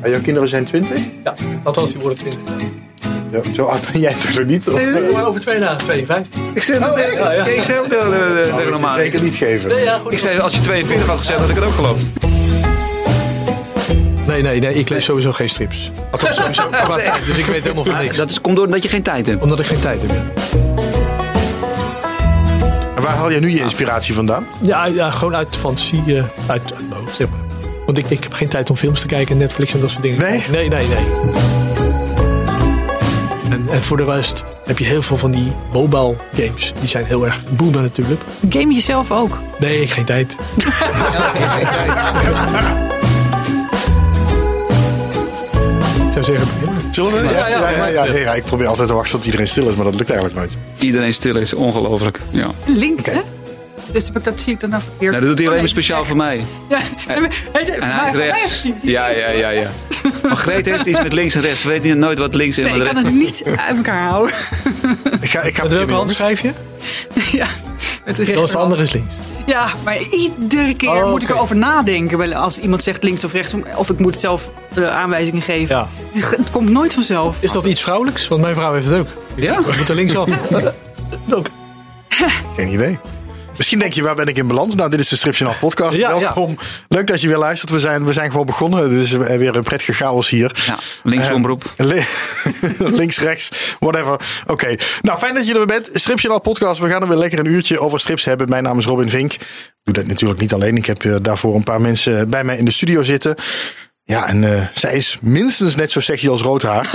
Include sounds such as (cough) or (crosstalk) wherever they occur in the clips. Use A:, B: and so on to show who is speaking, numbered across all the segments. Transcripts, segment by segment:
A: En jouw kinderen zijn 20?
B: Ja, althans, die worden 20.
A: Ja, zo oud ben jij toch nog niet? hoor.
B: Maar over twee dagen 52.
C: Ik zei, dat-
A: echt?
C: Ja, ja. ik zei ook tegen de- tegen
A: Dat moet
C: normaal.
A: je zeker niet geven.
B: Nee, ja, goed.
C: Ik zei, als je 42 had gezegd, had ik het ook geloofd.
B: Nee, nee, nee, ik lees sowieso geen strips. Althans, sowieso (laughs) qua tijd, dus ik weet helemaal van niks.
C: Dat is, komt doordat je geen tijd hebt.
B: Omdat ik geen tijd heb. ja.
A: En waar haal je nu je inspiratie vandaan?
B: Ja, ja gewoon uit fantasie, eh, uit, uit mijn hoofd. zeg maar. Want ik, ik heb geen tijd om films te kijken, Netflix en dat soort dingen.
A: Nee?
B: Nee, nee, nee. En, en voor de rest heb je heel veel van die mobile games. Die zijn heel erg boemen natuurlijk.
D: Game jezelf ook.
B: Nee, geen tijd. Ik zou zeggen, begin maar.
A: Zullen we? Ja, ja, ja, ja, ja, ja. Ik probeer altijd te wachten tot iedereen stil is, maar dat lukt eigenlijk nooit.
C: Iedereen stil is, ongelooflijk. Ja.
D: Linkt,
A: Oké.
D: hè? Dus heb ik dat, zie ik dan nou verkeerd.
C: Nou, dat doet hij
D: Oh,
C: alleen
D: nee,
C: maar speciaal voor mij.
D: Ja, hij zegt,
C: En
D: maar
C: hij is
D: voor mij
C: rechts.
D: gezien, zie
C: Ja,
D: je.
C: ja, ja, ja. Maar Greet heeft iets met links en rechts. Ze weet niet, nooit wat links en
D: Nee,
C: wat
D: ik kan
C: rechts
D: het
C: is.
D: niet uit elkaar houden. (laughs)
A: Ik ga, ik ga
B: Met welke
A: beginnen, jongens.
B: hand schrijf je?
D: ja, met de
B: Dat is de
D: rechterhand.
B: andere is links.
D: Ja, maar iedere keer
B: Oh,
D: moet ik
B: oké.
D: erover nadenken. wel, Als iemand zegt links of rechts, of ik moet zelf eh, aanwijzingen geven.
B: Ja.
D: Het, het komt nooit vanzelf.
B: Is dat iets vrouwelijks? Want mijn vrouw heeft het ook.
C: Ja?
B: We moeten linksaf. (laughs) Ook.
A: Geen idee. Misschien denk je, waar ben ik in beland? Nou, dit is de Stripje Nacht podcast.
B: Ja, ja.
A: Welkom. Leuk dat je weer luistert. We zijn, we zijn gewoon begonnen. Dit is eh, weer een prettige chaos hier.
C: Ja, links
A: Eh,
C: omroep.
A: (laughs) li- links, rechts, whatever. Oké. Nou, fijn dat je er bent. Stripje Nacht podcast. We gaan er weer lekker een uurtje over strips hebben. Mijn naam is Robin Vink. Ik doe dat natuurlijk niet alleen. Ik heb eh, daarvoor een paar mensen bij mij in de studio zitten. Ja, en eh, zij is minstens net zo sexy als Roodhaar.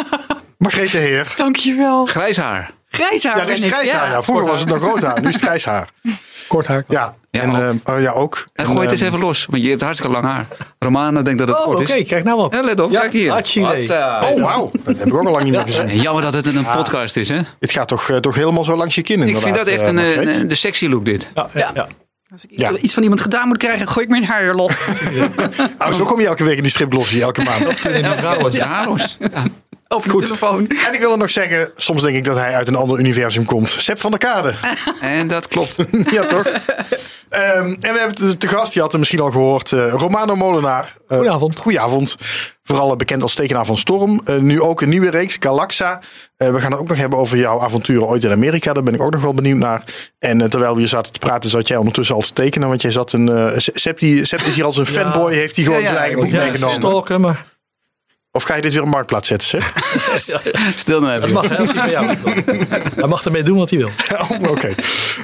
A: Margrethe Heer.
D: Dankjewel.
C: Grijs haar.
D: Grijs haar
A: Ja, nu is
D: ben
A: het
D: ik,
A: grijs haar.
D: ja.
A: Ja, vroeger was het nog rood haar. Nu is het grijs haar.
B: Kort haar.
A: Ja,
C: Ja,
A: en,
C: ook.
A: ehm, oh, ja, ook.
C: En gooi het eens
A: ehm,
C: even los, want je hebt hartstikke lang haar. Romana denkt dat het
B: Oh,
C: kort
B: oké.
C: is.
B: Kijk nou op.
C: Ja, let op, kijk hier. eh,
B: Achille.
A: Oh, wauw. Dat heb ik ook al lang niet meer gezien.
C: En Jammer dat het een podcast is, hè?
A: Dit gaat toch, eh, toch helemaal zo langs je kin,
C: Ik
A: inderdaad.
C: vind dat echt
A: eh,
C: een,
A: Margreet.
C: een, de sexy look, dit.
B: Ja, ja, ja.
D: Als ik
A: Ja.
D: iets van iemand gedaan moet krijgen, gooi ik mijn
C: (laughs)
D: haar los.
A: Oh, zo kom je elke week in die striplossie, elke maand.
C: Ja, vrouwen. Ja, haar los. Ja.
D: Of de telefoon.
A: en ik wilde nog zeggen, soms denk ik dat hij uit een ander universum komt. Sepp van der Kade.
C: En dat klopt.
A: (laughs) ja, toch? Ehm, en we hebben te- te gast, je had hem misschien al gehoord, eh, Romano Molenaar. Eh,
B: Goedenavond.
A: Goedenavond. Vooral eh, bekend als tekenaar van Storm. Eh, nu ook een nieuwe reeks, Galaxa. Eh, we gaan het ook nog hebben over jouw avonturen ooit in Amerika. Daar ben ik ook nog wel benieuwd naar. En eh, terwijl we hier zaten te praten, zat jij ondertussen al te tekenen. Want jij zat een... eh Sepp, die, Sepp is hier als een fanboy, heeft hij gewoon
C: Ja, ja,
A: zijn eigen
C: ik
A: boek
C: moet- ja,
A: meegenomen.
B: Stalken, maar
A: Of ga je dit weer op marktplaats zetten, Sepp?
C: Stil nou
B: dat
C: even.
B: mag hè, als hij van jou komt. Hij mag ermee doen wat hij wil.
A: (laughs) Oh, Oké.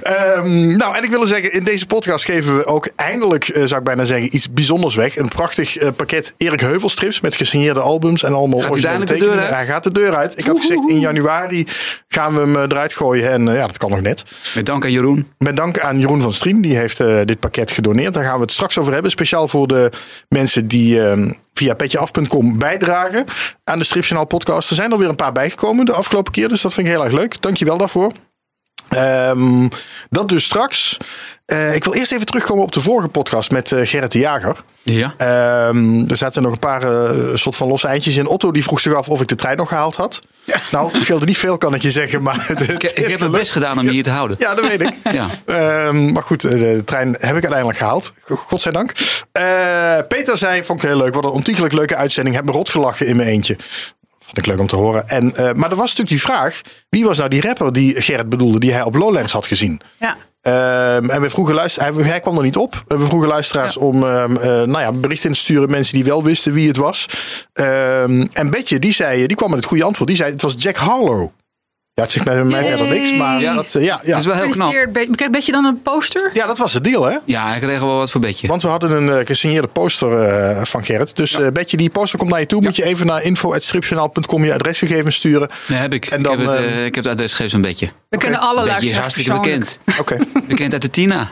A: Ehm, nou, en ik wil zeggen, in deze podcast geven we ook eindelijk, eh, zou ik bijna zeggen, iets bijzonders weg. Een prachtig eh, pakket Erik Heuvelstrips met gesigneerde albums en allemaal
C: hij
A: originele
C: eindelijk de deur
A: tekeningen.
C: uit?
A: Hij gaat de deur uit. Ik had gezegd, in januari gaan we hem eh, eruit gooien. En eh, ja, dat kan nog net.
C: Met dank aan Jeroen.
A: Met dank aan Jeroen van Strien, die heeft eh, dit pakket gedoneerd. Daar gaan we het straks over hebben. Speciaal voor de mensen die eh, via petjeaf.com bijdragen aan de Stripjournaal podcast. Er zijn alweer een paar bijgekomen de afgelopen keer, dus dat vind ik heel erg leuk. Dankjewel daarvoor. Ehm, dat dus straks. Eh, ik wil eerst even terugkomen op de vorige podcast met eh, Gerrit de Jager.
C: Ja.
A: Ehm, er zaten nog een paar eh, soort van losse eindjes in. Otto die vroeg zich af of ik de trein nog gehaald had. Nou, het scheelde niet veel, kan ik je zeggen. Maar het,
C: (laughs) Ik, ik heb mijn best gedaan om je hier te houden.
A: Ja, dat weet ik.
C: (laughs) Ja.
A: Ehm, maar goed, eh, de trein heb ik uiteindelijk gehaald. Godzijdank. Eh Peter zei, vond ik heel leuk. Wat een ontiegelijk leuke uitzending. Heb me rot gelachen in mijn eentje. Vond ik leuk om te horen. En, eh, maar er was natuurlijk die vraag. Wie was nou die rapper die Gerrit bedoelde? Die hij op Lowlands had gezien.
D: Ja.
A: Ehm, en we vroegen luisteraars, hij, hij kwam er niet op. We vroegen luisteraars om ehm eh, nou ja, een bericht in te sturen. Mensen die wel wisten wie het was. Ehm, en Betje, die, zei, die kwam met het goede antwoord. Die zei, het was Jack Harlow. Ja, het zegt mij mij verder niks. Maar
C: Yay.
A: dat, eh, ja, ja.
C: Dat is wel heel knap.
D: Gefeliciteerd, Be- Krijg je dan een poster?
A: ja, dat was het deal hè.
C: Ja, ik kreeg wel wat voor bedje.
A: Want we hadden een eh, gesigneerde poster eh, van Gerrit. Dus eh Betje, die poster komt naar je toe. Moet je even naar info.stripjournaal.com je adresgegevens sturen.
C: Nee, heb ik.
A: En
C: ik,
A: dan,
C: heb het,
A: eh,
C: eh, ik heb het adres gegeven een bedje.
D: We kennen alle
C: Bedje is
D: luisteraars
C: hartstikke bekend.
A: Oké.
C: (laughs) Bekend uit de Tina.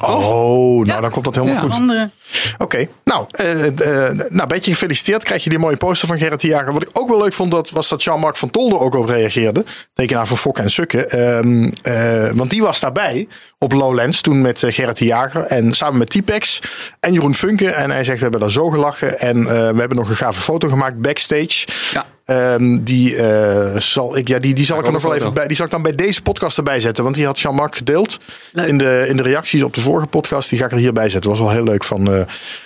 A: Oh, nou dan komt dat helemaal
C: Ja.
A: goed.
D: Andere.
A: Oké, nou, eh, eh, nou, beetje gefeliciteerd. Krijg je die mooie poster van Gerrit de Jager. Wat ik ook wel leuk vond, dat, was dat Jean-Marc van Tolder ook op reageerde. Tekenaar van Fokken en Sukken. Ehm, eh, want die was daarbij op Lowlands toen met eh, Gerrit de Jager. En samen met T-Pex en Jeroen Funke. En hij zegt, we hebben daar zo gelachen. En eh, we hebben nog een gave foto gemaakt backstage.
C: Ja.
A: Ehm, die, eh, zal ik, ja, die, die zal ik er
C: wel
A: nog
C: een
A: wel even
C: foto.
A: bij. Die zal ik dan bij deze podcast erbij zetten. Want die had Jean-Marc gedeeld
D: Leuk.
A: in de, in de reacties op de vorige podcast. Die ga ik er hierbij zetten. Was wel heel leuk van eh,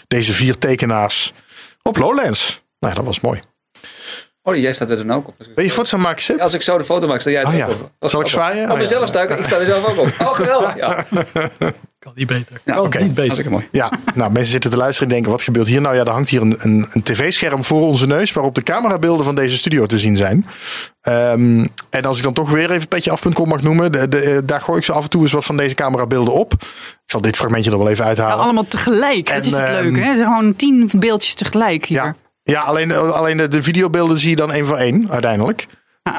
A: deze vier tekenaars op Lowlands. Nou, dat was mooi.
E: (laughs) Oh, jij staat er dan ook op.
A: Wil je foto's aan maken, Sip?
E: Ja, Als ik zo de foto maak, sta jij er
A: Oh
E: ook
A: ja.
E: op. Dat is
A: Zal ik
E: grappig.
A: zwaaien?
E: Op
A: Oh ja.
E: mezelf sta ik, ik sta er zelf ook op.
A: (laughs)
E: Oh, geweldig. Ja,
B: Kan niet beter.
E: Ja,
B: kan
A: oké.
B: niet beter.
E: hartstikke mooi.
A: Ja, nou, mensen zitten te luisteren en denken: wat gebeurt hier? Nou ja, er hangt hier een, een, een tv-scherm voor onze neus. waarop de camerabeelden van deze studio te zien zijn. Ehm, en als ik dan toch weer even een beetje af.com mag noemen. De, de, eh, daar gooi ik zo af en toe eens wat van deze camerabeelden op. Ik zal dit fragmentje er wel even
D: Ja,
A: uithalen.
D: allemaal tegelijk. dat
A: En,
D: is het
A: ehm,
D: leuke. Hè? Er zijn gewoon tien beeldjes tegelijk hier.
A: Ja, ja alleen, eh, alleen de, de videobeelden zie je dan één voor één uiteindelijk. Ehm,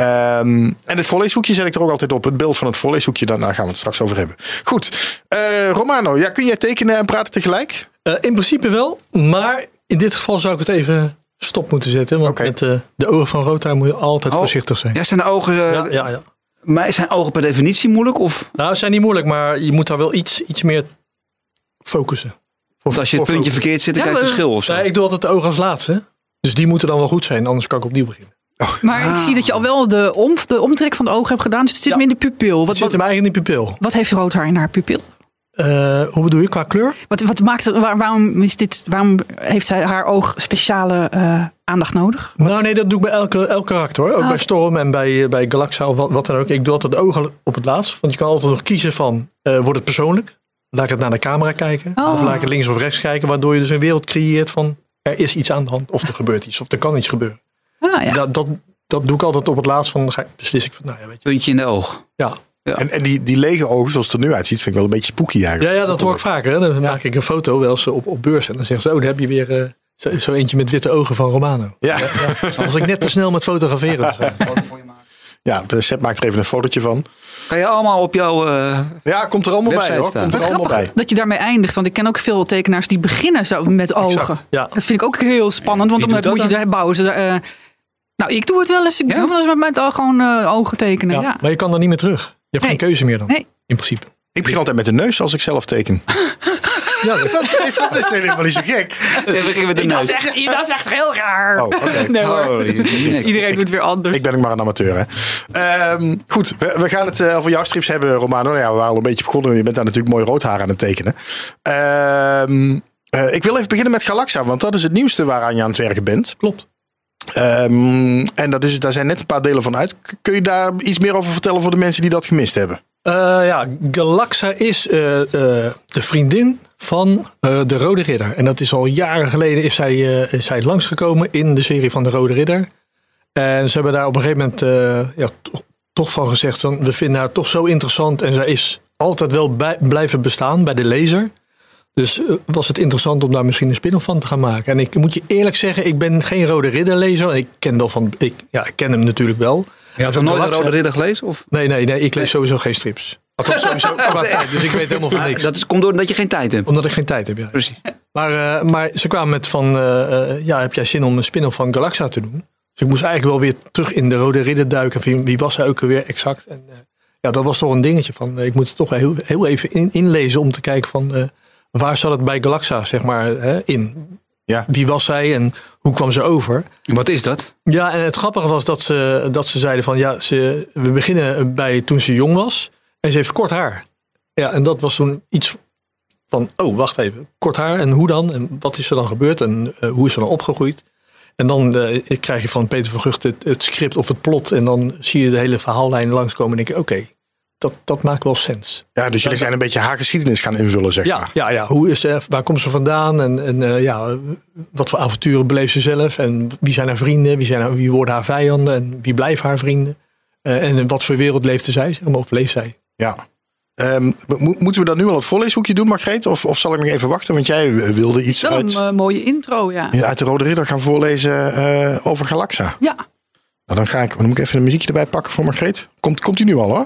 A: en het voorleeshoekje zet ik er ook altijd op. Het beeld van het voorleeshoekje, daar daar gaan we het straks over hebben. Goed, Eh, Romano, ja, kun jij tekenen en praten tegelijk?
B: Eh, in principe wel, maar in dit geval zou ik het even stop moeten zetten. Want
A: Oké.
B: met eh, de ogen van Rota moet je altijd
C: Oh.
B: voorzichtig zijn.
C: Ja, zijn de ogen, eh,
B: Ja, ja, ja.
C: Maar zijn ogen per definitie moeilijk? Of
B: Nou, het zijn niet moeilijk, maar je moet daar wel iets, iets meer focussen.
C: want als je het
B: of-
C: puntje verkeerd zit, dan
D: Ja,
C: krijg je een
D: maar-
C: schil of zo?
B: Nee, ik doe altijd de ogen als laatste. Dus die moeten dan wel goed zijn, anders kan ik opnieuw beginnen.
D: Maar ik zie dat je al wel de, om, de omtrek van de ogen hebt gedaan. Dus het zit
B: Ja.
D: hem in de pupil.
B: Wat
D: Wat,
B: zit
D: wat,
B: hem eigenlijk in die pupil?
D: wat heeft rood haar in haar pupil?
B: Eh, hoe bedoel je, qua kleur?
D: Wat, wat maakt, het- waar- waarom, is dit, waarom heeft zij haar oog speciale eh, aandacht nodig?
B: Nou nee, dat doe ik bij elke, elk karakter hoor. Ook
D: Oh.
B: bij Storm en bij, eh, bij Galaxa of wat, wat dan ook. Ik doe altijd de ogen op het laatst. Want je kan altijd nog kiezen van, eh wordt het persoonlijk? Laat ik het naar de camera kijken?
D: Oh.
B: Of laat ik het links of rechts kijken? Waardoor je dus een wereld creëert van, er is iets aan de hand. Of er gebeurt iets, of er kan iets gebeuren.
D: Ah, ja.
B: Dat, dat, dat doe ik altijd op het laatst. Van, dan ga ik- beslis ik van, nou ja, weet je.
C: Puntje in de oog.
B: Ja,
A: En, en die, die lege ogen, zoals het er nu uitziet, vind ik wel een beetje spooky
B: ja,
A: eigenlijk.
B: ja dat hoor ik vaker. Hè. Dan maak ik een foto wel eens op, op beurs. En dan zeggen ze, oh, daar heb je weer eh, zo, zo eentje met witte ogen van Romano.
A: Ja, ja. (laughs)
B: Als ik net te snel met fotograferen was.
A: de set maakt er even een fotootje van.
C: Kan je allemaal op jouw... eh,
E: (laughs)
A: Ja, komt er allemaal bij
C: Website
A: hoor.
C: staan.
A: Komt er
D: Wat
A: allemaal bij.
D: grappig dat je daarmee eindigt. Want ik ken ook veel tekenaars die beginnen zo met ogen.
B: ja.
D: Dat vind ik ook heel spannend. Want
C: Wie
D: dan
C: doet
D: moet je
C: dat
D: daar bouwen. Ze, daar, eh, nou, ik doe het wel eens. Ik
C: Ja?
D: doe wel eens met, met al gewoon eh, ogen tekenen.
B: Ja,
D: Ja.
B: Maar je kan dan niet meer terug. Je hebt
D: Nee.
B: geen keuze meer dan.
D: Nee.
B: In principe.
A: Ik begin altijd met de neus als ik zelf teken.
B: Ja, dat-
A: Dat is, dat is helemaal niet zo gek.
C: we beginnen met de
D: Dat,
C: neus.
D: is echt, dat is echt heel raar.
A: Oh, oké.
D: Nee, hoor.
E: (laughs)
C: Oh, nee.
D: Iedereen doet weer anders.
A: Ik ben ook maar een amateur, hè. Ehm, goed, we, we gaan het eh, over jouw strips hebben, Romano. Nou ja, we waren al een beetje begonnen. Je bent daar natuurlijk mooi rood haar aan het tekenen. Ehm, eh, ik wil even beginnen met Galaxa, want dat is het nieuwste waaraan je aan het werken bent.
B: klopt.
A: Ehm, en dat is, daar zijn net een paar delen van uit. K- Kun je daar iets meer over vertellen voor de mensen die dat gemist hebben?
B: Eh, ja, Galaxa is eh, eh, de vriendin van eh, de Rode Ridder. En dat is al jaren geleden is zij, eh, is zij langsgekomen in de serie van de Rode Ridder. En ze hebben daar op een gegeven moment eh, ja, toch, toch van gezegd: van, we vinden haar toch zo interessant. En zij is altijd wel bij- blijven bestaan bij de lezer. Dus eh, was het interessant om daar misschien een spin-off van te gaan maken. En ik moet je eerlijk zeggen, ik ben geen Rode Ridder lezer. Ik ken, wel van, ik, ja, ik ken hem natuurlijk wel.
C: Je had nog nooit de Rode Ridder gelezen? Of?
B: Nee, nee, nee. Ik lees sowieso geen strips. Althans, sowieso qua tijd. Dus ik weet helemaal van niks.
C: Ah, Dat is, komt doordat je geen tijd hebt.
B: Omdat ik geen tijd heb, ja.
C: Precies.
B: Maar, eh, maar ze kwamen met van... eh, eh, ja, heb jij zin om een spin-off van Galaxa te doen? Dus ik moest eigenlijk wel weer terug in de Rode Ridder duiken. Wie, wie was hij ook alweer exact? En, eh, ja, dat was toch een dingetje van... eh, ik moet het toch heel, heel even in, inlezen om te kijken van... eh, waar zat het bij Galaxa, zeg maar, hè, in?
A: Ja.
B: Wie was zij en hoe kwam ze over?
C: Wat is dat?
B: Ja, en het grappige was dat ze, dat ze zeiden van ja, ze, we beginnen bij toen ze jong was en ze heeft kort haar. Ja, en dat was toen iets van, oh wacht even, kort haar en hoe dan? En wat is er dan gebeurd en eh, hoe is ze dan opgegroeid? En dan eh, krijg je van Peter van Gucht het, het script of het plot en dan zie je de hele verhaallijn langskomen en denk je, oké, dat, dat maakt wel sens.
A: Ja, dus jullie zijn een beetje haar geschiedenis gaan invullen, zeg
B: Ja,
A: maar.
B: ja, ja. Hoe is ze, waar komt ze vandaan? En, en eh, ja, wat voor avonturen beleeft ze zelf? En wie zijn haar vrienden? Wie, zijn haar- wie worden haar vijanden? En wie blijven haar vrienden? Eh, en in wat voor wereld leefde zij? Zeg maar, of leeft zij?
A: Ja. Ehm, mo- moeten we dan nu al het voorleeshoekje doen, Margreet? Of, of zal ik nog even wachten? Want jij eh, wilde iets
D: Wel een
A: uit,
D: eh, mooie intro, ja.
A: uit de Rode Ridder gaan voorlezen eh, over Galaxa.
D: Ja.
A: Nou, dan, ga ik, dan moet ik even een muziekje erbij pakken voor Margreet. Komt, komt die nu al, hoor?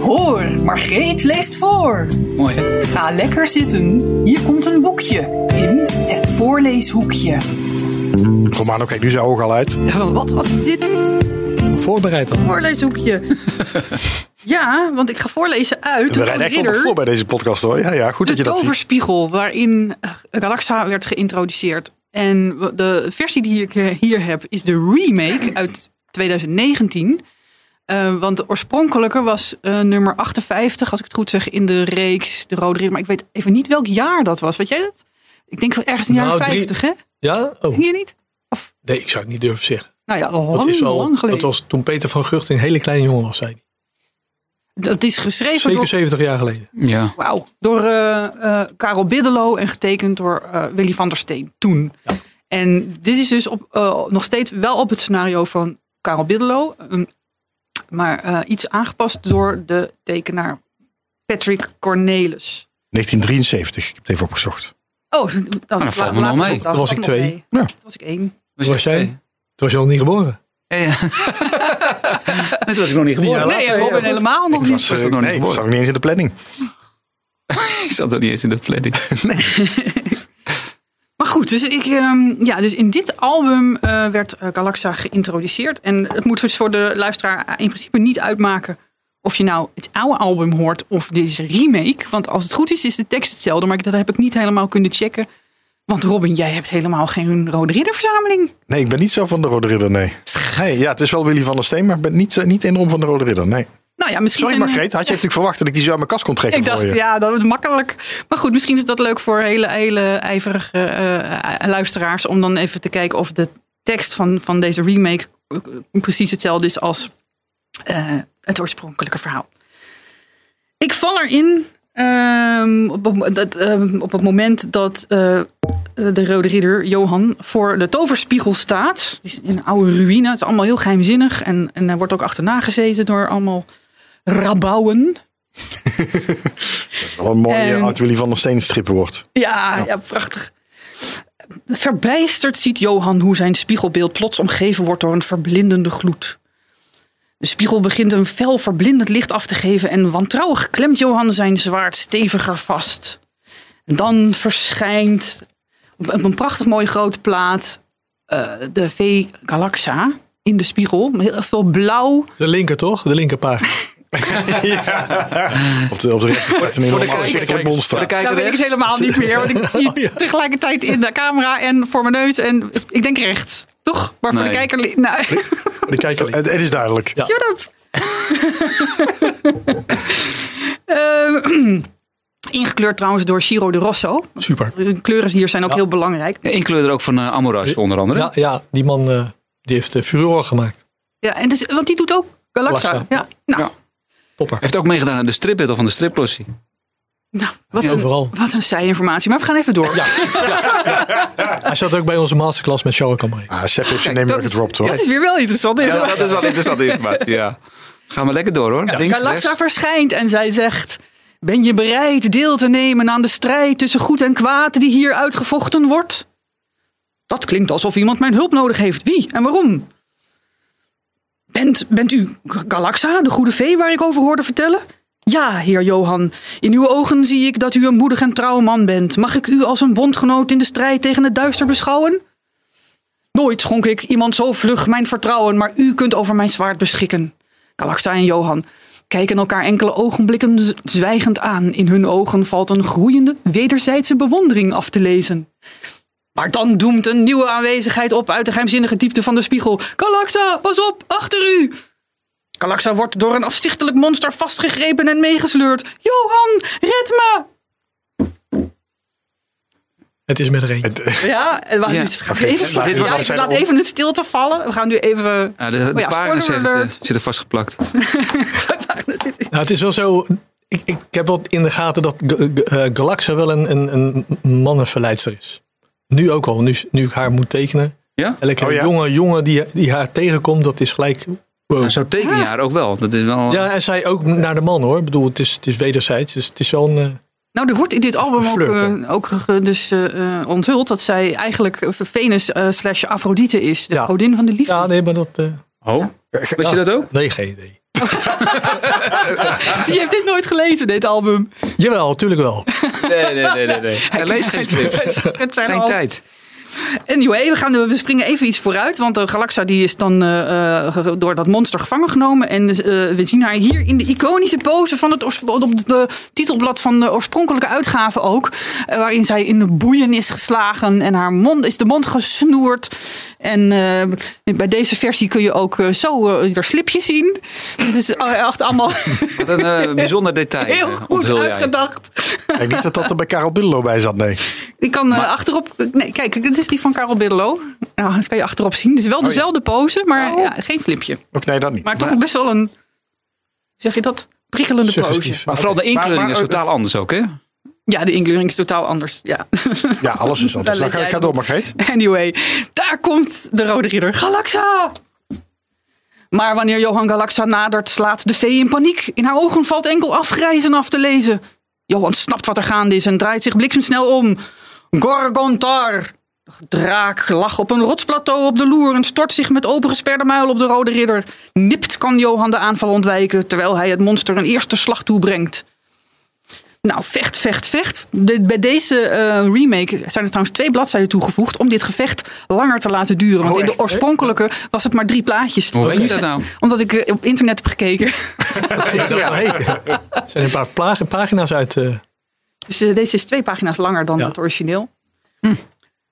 F: Hoor, Margreet leest voor.
C: Mooi hè?
F: Ga lekker zitten. Hier komt een boekje in het voorleeshoekje.
A: Romano kijkt nu zijn ogen al uit.
D: Ja, maar wat was dit?
B: Voorbereid dan.
A: (laughs)
D: Voorleeshoekje. ja, want ik ga voorlezen uit
A: We
D: de
A: rijden
D: Rode
A: echt wel nog
D: Ridder,
A: voor bij deze podcast, hoor. Ja, ja goed
D: de
A: dat je dat ziet.
D: toverspiegel, waarin eh, Galaxa werd geïntroduceerd. En w- de versie die ik eh, hier heb is de remake uit 2019. Eh, want de oorspronkelijke was eh, nummer 58, als ik het goed zeg, in de reeks De Rode Ridder. Maar ik weet even niet welk jaar dat was. Weet jij dat? Ik denk wel ergens in de jaren
B: Nou, drie-
D: 50, hè?
B: Ja? Oh,
D: Ging je niet?
B: nee, ik zou het niet durven zeggen.
D: Nou ja, al lang,
B: Dat, is al,
D: lang geleden.
B: dat was toen Peter van Gucht een hele kleine jongen was, zei hij.
D: Dat is geschreven
B: Zeker
D: door,
B: 70 jaar geleden.
C: Ja.
D: wauw, door eh, eh, Karel Biddelo en getekend door eh, Willy van der Steen toen. En dit is dus op, eh, nog steeds wel op het scenario van Karel Biddelo. ehm, maar eh, iets aangepast door de tekenaar Patrick Cornelis.
A: 1973, ik heb het even opgezocht.
D: Oh, dat, dat
C: Nou, dat valt me
D: laat
C: nog
D: ik
C: mee.
D: op, dat
B: Toen was ik
D: valt
B: twee.
D: nog mee.
A: Ja.
D: Toen was ik één.
B: Was jij? Toen was je al niet geboren.
C: Eh, Ja. (laughs)
E: Dit was ik nog niet geboren.
D: Oh, nee, ik ben helemaal nog
A: Ik
D: niet.
A: was,
C: was
A: eh,
C: dat nog niet
A: nee, ik
C: geboren?
A: zat nog niet eens in de planning. (laughs)
C: Ik zat er niet eens in de planning.
D: Maar goed, dus, ik, ehm, ja, dus in dit album eh, werd eh, Galaxa geïntroduceerd. En het moet dus voor de luisteraar in principe niet uitmaken of je nou het oude album hoort of deze remake. Want als het goed is, is de tekst hetzelfde. Maar ik- dat heb ik niet helemaal kunnen checken. Want Robin, jij hebt helemaal geen Rode Ridderverzameling.
A: Nee, ik ben niet zo van de Rode Ridder, nee. nee ja, het is wel Willy van der Steen, maar ik ben niet, eh, niet enorm van de Rode Ridder, nee.
D: Nou ja, misschien
A: Sorry
D: zijn-
A: Margreet, had je natuurlijk verwacht dat ik die zo uit mijn kast kon trekken
D: Ik dacht,
A: voor je?
D: ja, dat wordt makkelijk. Maar goed, misschien is dat leuk voor hele, hele ijverige eh, luisteraars. Om dan even te kijken of de tekst van, van deze remake eh, precies hetzelfde is als eh, het oorspronkelijke verhaal. Ik val erin ehm, op, op- dat, ehm, op het moment dat eh, de Rode Ridder Johan voor de toverspiegel staat. Die is in een oude ruïne. Het is allemaal heel geheimzinnig. En, en hij wordt ook achterna gezeten door allemaal rabouwen.
A: Wel een mooie
D: Ehm.
A: oud Willy van der Steen strippen wordt.
D: Ja, ja. prachtig. Verbijsterd ziet Johan hoe zijn spiegelbeeld plots omgeven wordt door een verblindende gloed. De spiegel begint een fel verblindend licht af te geven en wantrouwig klemt Johan zijn zwaard steviger vast. En dan verschijnt op op een prachtig mooi groot plaat eh, de V Galaxa in de spiegel. Heel veel blauw.
B: De linker toch? De
D: (laughs)
B: linkerpagina.
A: Op de, op de rechter staat een enorm afzichtelijk monster.
D: Nou weet ik het helemaal niet meer, want ik zie het tegelijkertijd in de camera en voor mijn neus en ik denk rechts. Toch? Maar voor de
C: Nee.
D: kijker... li- Nou,
B: De kijker
A: Het, het is duidelijk.
B: Ja.
D: (laughs) Shut up. (laughs) Ehm, (clears throat) ingekleurd trouwens door Ciro de Rosso.
B: Super.
D: De kleuren hier zijn ook
B: Ja.
D: heel belangrijk.
C: Inkleur er ook van eh, Amoras onder andere.
B: Ja, ja die man eh, die heeft eh, furore gemaakt.
D: Ja, en dus, want die doet ook Galaxa.
B: Galaxa.
D: Ja. Nou,
C: Ja.
B: Popper.
C: Heeft ook meegedaan aan de stripbattle van de striplossie.
D: nou, wat,
B: Ja,
D: een,
B: overal.
D: wat een saai informatie. Maar we gaan even door. (laughs)
B: Ja. Hij zat ook bij onze masterclass met Charles Camry.
A: Ah, Sepp heeft zijn name weer gedropt hoor.
D: Dat is weer wel interessant.
C: Ja, dat is (laughs) wel interessante informatie, ja. Gaan we lekker door hoor. Links,
D: Galaxa
C: rechts.
D: verschijnt en zij zegt... Ben je bereid deel te nemen aan de strijd tussen goed en kwaad die hier uitgevochten wordt? Dat klinkt alsof iemand mijn hulp nodig heeft. Wie en waarom? Bent, bent u G- Galaxa, de goede vee waar ik over hoorde vertellen? Ja, heer Johan. In uw ogen zie ik dat u een moedig en trouw man bent. Mag ik u als een bondgenoot in de strijd tegen het duister beschouwen? Nooit schonk ik iemand zo vlug mijn vertrouwen, maar u kunt over mijn zwaard beschikken. Galaxa en Johan kijken elkaar enkele ogenblikken z- zwijgend aan. In hun ogen valt een groeiende wederzijdse bewondering af te lezen. Maar dan doemt een nieuwe aanwezigheid op uit de geheimzinnige diepte van de spiegel. Galaxa, pas op, achter u! Galaxa wordt door een afzichtelijk monster vastgegrepen en meegesleurd. Johan, red me!
B: Het is met er één.
A: eh,
D: Ja, en wacht,
C: Ja.
D: nu- we gaan even,
A: dit wordt
D: ja,
A: nog
D: ik
A: zijn
D: laat
A: om.
D: even een stilte vallen. We gaan nu even...
C: Ja, de de
D: Oh ja,
C: pagina's
D: spoiler
C: zitten,
D: alert.
C: zitten vastgeplakt.
B: Nou, het is wel zo. Ik, ik heb wel in de gaten dat G- G- eh, Galaxa wel een, een, een mannenverleidster is. Nu ook al, nu, nu ik haar moet tekenen.
C: Ja?
B: Elke
A: Oh ja?
B: jonge jongen die, die haar tegenkomt, dat is gelijk. wow.
C: Maar zo teken je haar ook wel. Dat is wel...
B: Ja, en zij ook naar de man hoor. Ik bedoel, het is, het is wederzijds. Dus het is wel een. eh,
D: Nou, er wordt in dit album ook,
B: Flirten.
D: eh, ook eh, dus, eh, eh, onthuld dat zij eigenlijk Venus eh, slash Afrodite is. De
B: Ja.
D: godin van de liefde.
B: ja, nee, maar dat. eh
C: Oh, weet je dat ook?
B: nee, geen idee.
D: (laughs) Je hebt dit nooit gelezen, dit album.
B: Jawel, tuurlijk wel.
C: Nee, nee, nee. nee, nee. Hij leest geen strips.
D: (laughs) Het zijn
C: Geen
D: al-
C: tijd.
D: Anyway, we, gaan, we springen even iets vooruit. Want de Galaxa die is dan eh, eh, ge- door dat monster gevangen genomen. En eh, we zien haar hier in de iconische pose van het oors- op het eh, titelblad van de oorspronkelijke uitgave ook. eh, waarin zij in de boeien is geslagen en haar mond is de mond gesnoerd. En eh, bij deze versie kun je ook eh, zo eh, er slipjes zien. Dus het is echt allemaal
C: Wat een
D: (laughs)
C: eh, bijzonder detail.
D: heel
C: eh,
D: goed
C: onthul jij.
D: uitgedacht.
A: Ik denk niet dat dat er bij Karel Biddelo bij zat, nee.
D: Ik kan eh, achterop... Nee, kijk, dit is die van Karel Biddelo. Nou, dat kan je achterop zien. Het is wel dezelfde pose, maar ja, geen slipje.
A: Ook nee, dat niet.
D: Maar toch best wel een... Zeg je dat? Prikkelende pose.
B: Suggestief.
C: Maar vooral de inkleuring
A: Maar- maar-
C: is totaal anders ook, hè?
D: Ja, de inkleuring is totaal anders. Ja. (laughs)
A: Ja, alles is anders. Dan
D: Daar leg
A: ga ik
D: jij
A: ga door, Margreet.
D: Anyway, daar komt de Rode Ridder Galaxa. Maar wanneer Johan Galaxa nadert, slaat de vee in paniek. In haar ogen valt enkel afgrijzen af te lezen. Johan snapt wat er gaande is en draait zich bliksemsnel om. Gorgontar! De Draak lag op een rotsplateau op de loer en stort zich met opengesperde muil op de Rode Ridder. Nipt kan Johan de aanval ontwijken, terwijl hij het monster een eerste slag toebrengt. Nou, vecht, vecht, vecht. De- bij deze eh, remake zijn er trouwens twee bladzijden toegevoegd om dit gevecht langer te laten duren. Want
A: Oh,
D: in de
A: echt? Oh,
D: oorspronkelijke was het maar drie plaatjes.
C: Hoe weet je dat nou?
D: Omdat ik eh, op internet heb gekeken.
B: (laughs) Ja. Er zijn een paar pla- pagina's uit. eh,
D: Dus eh, deze is twee pagina's langer dan
B: Ja.
D: het origineel.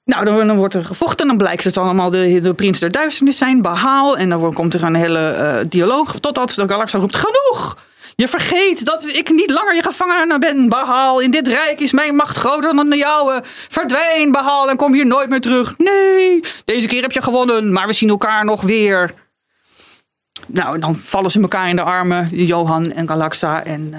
D: Nou, dan, dan wordt er gevochten. Dan blijkt het allemaal de, de prins der duisternis zijn. Behaal. En dan wordt- komt er een hele eh, dialoog. Totdat de Galaxa roept, genoeg! Je vergeet dat ik niet langer je gevangene ben, Bahaal. In dit rijk is mijn macht groter dan de jouwe. Verdwijn, Bahaal, en kom hier nooit meer terug. Nee, deze keer heb je gewonnen, maar we zien elkaar nog weer. Nou, en dan vallen ze elkaar in de armen, Johan en Galaxa. En eh,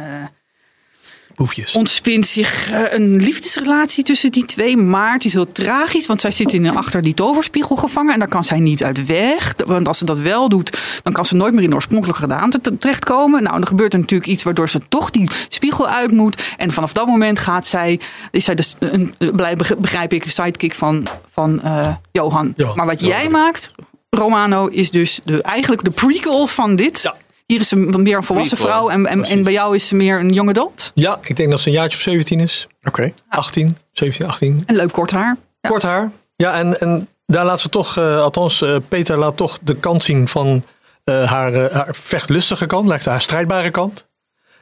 B: Boefjes.
D: ontspint zich eh, een liefdesrelatie tussen die twee. Maar het is heel tragisch, want zij zit in, achter die toverspiegel gevangen. En daar kan zij niet uit weg. Want als ze dat wel doet, dan kan ze nooit meer in de oorspronkelijke gedaante te- terechtkomen. Nou, dan gebeurt er natuurlijk iets waardoor ze toch die spiegel uit moet. En vanaf dat moment gaat zij, is zij dus een, een- blij- begrijp ik, de sidekick van, van eh, Johan.
B: Johan,
D: Maar wat
B: ja.
D: jij maakt, Romano, is dus de, eigenlijk de prequel van dit.
B: Ja.
D: Hier is ze meer een volwassen
C: Prequel,
D: vrouw en, en, en
B: precies.
D: bij jou is ze meer een young adult.
B: Ja, ik denk dat ze een jaartje of 17 is.
A: Oké.
B: 18, 17, 18.
D: En leuk kort haar.
B: Kort haar. Ja, en, en daar laat ze toch, eh, althans, eh, Peter laat toch de kant zien van eh, haar, eh, haar vechtlustige kant, lijkt haar strijdbare kant.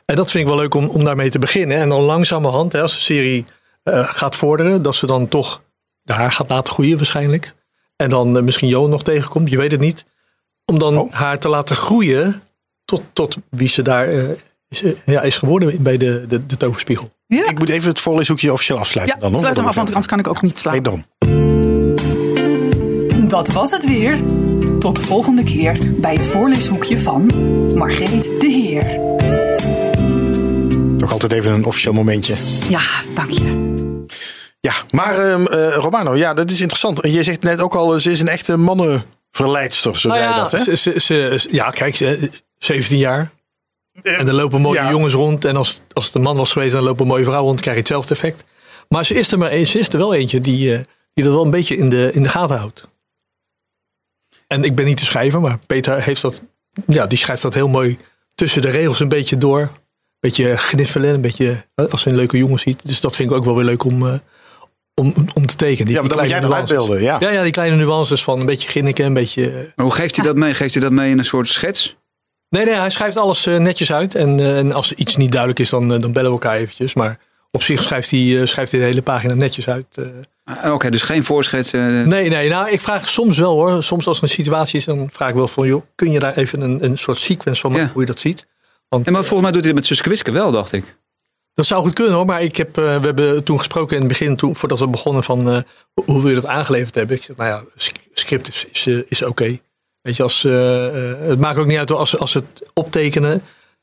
B: En dat vind ik wel leuk om, om daarmee te beginnen. En dan langzamerhand, hè, als de serie eh, gaat vorderen, dat ze dan toch de haar gaat laten groeien waarschijnlijk. En dan eh, misschien Johan nog tegenkomt, je weet het niet. Om dan
A: Oh.
B: haar te laten groeien tot, tot wie ze daar eh, is, eh, ja, is geworden bij de, de, de toverspiegel.
D: Ja,
A: Ik moet even het voorleeshoekje officieel afsluiten.
D: ja
A: dan, hoor,
D: sluit hem af, want anders kan ik ook niet
A: Nee,
D: slapen.
A: daarom.
F: Dat was het weer. Tot de volgende keer bij het voorleeshoekje van Margreet de Heer.
A: Toch altijd even een officieel momentje.
D: Ja, dank je.
A: Ja, maar ehm, eh, Romano, ja, dat is interessant. En Je zegt net ook al, ze is een echte mannenverleidster, zo
B: Nou
A: zei je dat, hè?
B: Ze, ze, ze- ze- ja, kijk, ze- 17 jaar. En er lopen mooie
A: ja.
B: jongens rond. En als, als het een man was geweest, dan lopen mooie vrouwen rond. krijg je hetzelfde effect. Maar ze is er, maar, ze is er wel eentje die, eh, die dat wel een beetje in de, in de gaten houdt. En ik ben niet de schrijver, maar Peter heeft dat, ja, die schrijft dat heel mooi tussen de regels een beetje door. Een beetje gniffelen, een beetje eh, als hij een leuke jongen ziet. Dus dat vind ik ook wel weer leuk om, eh, om, om- om te tekenen. Die,
A: Ja, maar
B: die
A: dan moet
B: kleine
A: jij dat
B: nuances.
A: uitbeelden, ja.
B: Ja, ja, die kleine nuances van een beetje ginniken, een beetje... eh,
C: Maar hoe geeft hij dat mee? Geeft hij dat mee in een soort schets?
B: Nee, nee, hij schrijft alles eh, netjes uit. En, eh, en als er iets niet duidelijk is, dan, eh, dan bellen we elkaar eventjes. Maar op zich schrijft hij, eh, schrijft hij de hele pagina netjes uit. eh.
C: Ah, Oké, dus geen voorschets. eh,
B: nee, nee, nou, ik vraag soms wel hoor. Soms als er een situatie is, dan vraag ik wel van... joh, kun je daar even een, een soort sequence van maken,
C: Ja.
B: hoe je dat ziet? Want
C: Ja, maar volgens mij doet hij dat met Suske Wiske wel, dacht ik.
B: dat zou goed kunnen hoor. Maar ik heb, eh, we hebben toen gesproken in het begin, toen, voordat we begonnen, van eh, hoe wil je dat aangeleverd hebben. Ik zeg, nou ja, sk- script is, is, eh, is oké. Weet je, als, eh, eh, het maakt ook niet uit hoor, als, als ze het optekenen.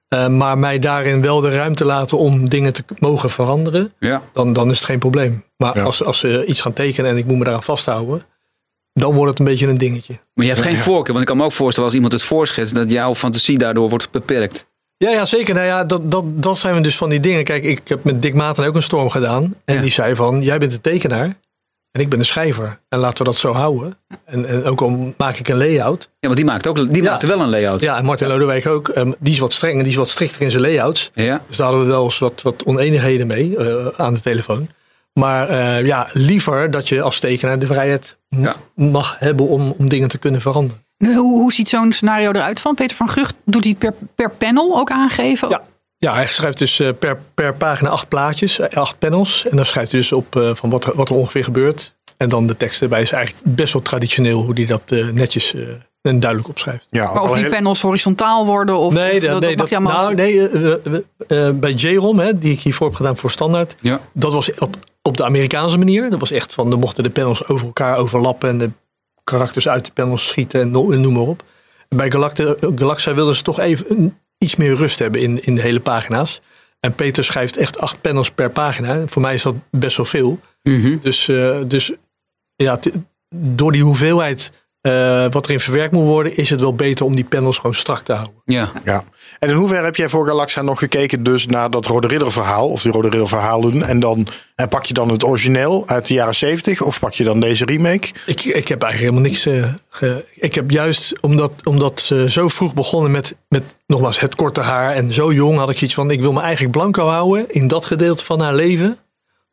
B: eh, maar mij daarin wel de ruimte laten om dingen te k- mogen veranderen.
C: Ja.
B: Dan, dan is het geen probleem. Maar
A: Ja.
B: als, als ze iets gaan tekenen en ik moet me daaraan vasthouden. Dan wordt het een beetje een dingetje.
C: Maar je hebt geen voorkeur, want ik kan me ook voorstellen als iemand het voorschetst, dat jouw fantasie daardoor wordt beperkt.
B: Ja, ja zeker. Nou ja, dat, dat, dat zijn we dus van die dingen. Kijk, ik heb met Dick Maarten ook een storm gedaan. En
C: Ja.
B: die zei van, jij bent de tekenaar en ik ben de schrijver. En laten we dat zo houden. En, en ook al maak ik een layout.
C: Ja, want die maakt, ook, die
B: Ja.
C: maakt wel een layout.
B: Ja, en Martin Lodewijk ook. ehm, die is wat strenger, die is wat strikter in zijn layouts.
C: Ja.
B: Dus daar hadden we wel eens wat, wat oneenigheden mee eh, aan de telefoon. Maar eh, ja, liever dat je als tekenaar de vrijheid m-
C: Ja.
B: mag hebben om, om dingen te kunnen veranderen.
D: Hoe, hoe ziet zo'n scenario eruit van? Peter van Gucht doet hij per, per panel ook aangeven?
B: Ja. Ja, hij schrijft dus eh, per, per pagina acht plaatjes, eh, acht panels. En dan schrijft hij dus op eh, van wat, er- wat er ongeveer gebeurt. En dan de tekst erbij is eigenlijk best wel traditioneel hoe hij dat eh, netjes eh, en duidelijk opschrijft.
A: Ja, ook
D: Maar of
A: al
D: die
A: heel-
D: panels horizontaal worden of
B: nee,
D: of
B: dat,
D: dat,
B: nee, dat,
D: mag je allemaal
B: nou, nee eh, we- we- eh, bij JROM, hè, die ik hiervoor heb gedaan voor standaard,
C: Ja.
B: dat was op, op de Amerikaanse manier. Dat was echt van, dan mochten de panels over elkaar overlappen en de karakters uit de panels schieten en no- en noem maar op. En bij Galacta, Galaxa wilden ze toch even een- iets meer rust hebben in, in de hele pagina's. En Peter schrijft echt acht panels per pagina. Voor mij is dat best wel veel.
C: Mhm.
B: Dus, eh, dus ja, t- door die hoeveelheid eh, wat erin verwerkt moet worden, is het wel beter om die panels gewoon strak te houden.
C: Ja.
A: Ja. En in hoeverre heb jij voor Galaxa nog gekeken dus naar dat Rode Ridder verhaal? Of die Rode Ridder verhalen. En, dan, en pak je dan het origineel uit de jaren 70? Of pak je dan deze remake?
B: Ik, ik heb eigenlijk helemaal niks. eh, ge- ik heb juist omdat, omdat ze zo vroeg begonnen met, met nogmaals het korte haar en zo jong had ik iets van: ik wil me eigenlijk blanco houden in dat gedeelte van haar leven.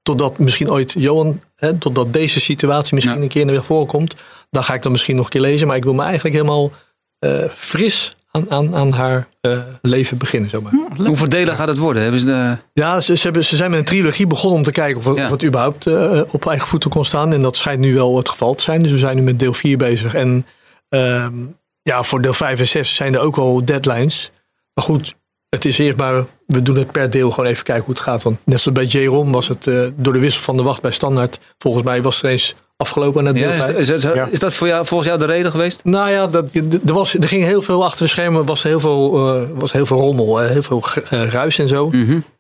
B: Totdat misschien ooit Johan, hè, totdat deze situatie misschien
C: Ja.
B: een keer weer voorkomt. Dan ga ik dat misschien nog een keer lezen. Maar ik wil me eigenlijk helemaal eh, fris aan, aan, aan haar eh, leven beginnen. Zomaar.
C: Hoe voordelig gaat het worden? Hebben ze de...
B: Ja, ze, ze, hebben, ze zijn met een trilogie begonnen om te kijken of,
C: Ja.
B: of het überhaupt eh, op eigen voeten kon staan. En dat schijnt nu wel het geval te zijn. Dus we zijn nu met deel 4 bezig. En ehm, ja, voor deel 5 en 6 zijn er ook al deadlines. Maar goed, het is eerst maar, we doen het per deel gewoon even kijken hoe het gaat. Want net zoals bij J-Rom was het eh, door de wissel van de wacht bij Standaard. Volgens mij was het ineens afgelopen aan het
C: Ja,
B: deel 5.
C: is, is- is-
A: Ja.
C: is dat voor jou, volgens jou de reden geweest?
B: Nou ja, dat, er, was, er ging heel veel achter de schermen. Was heel veel, eh, was heel veel rommel, hè, heel veel eh, ruis en zo.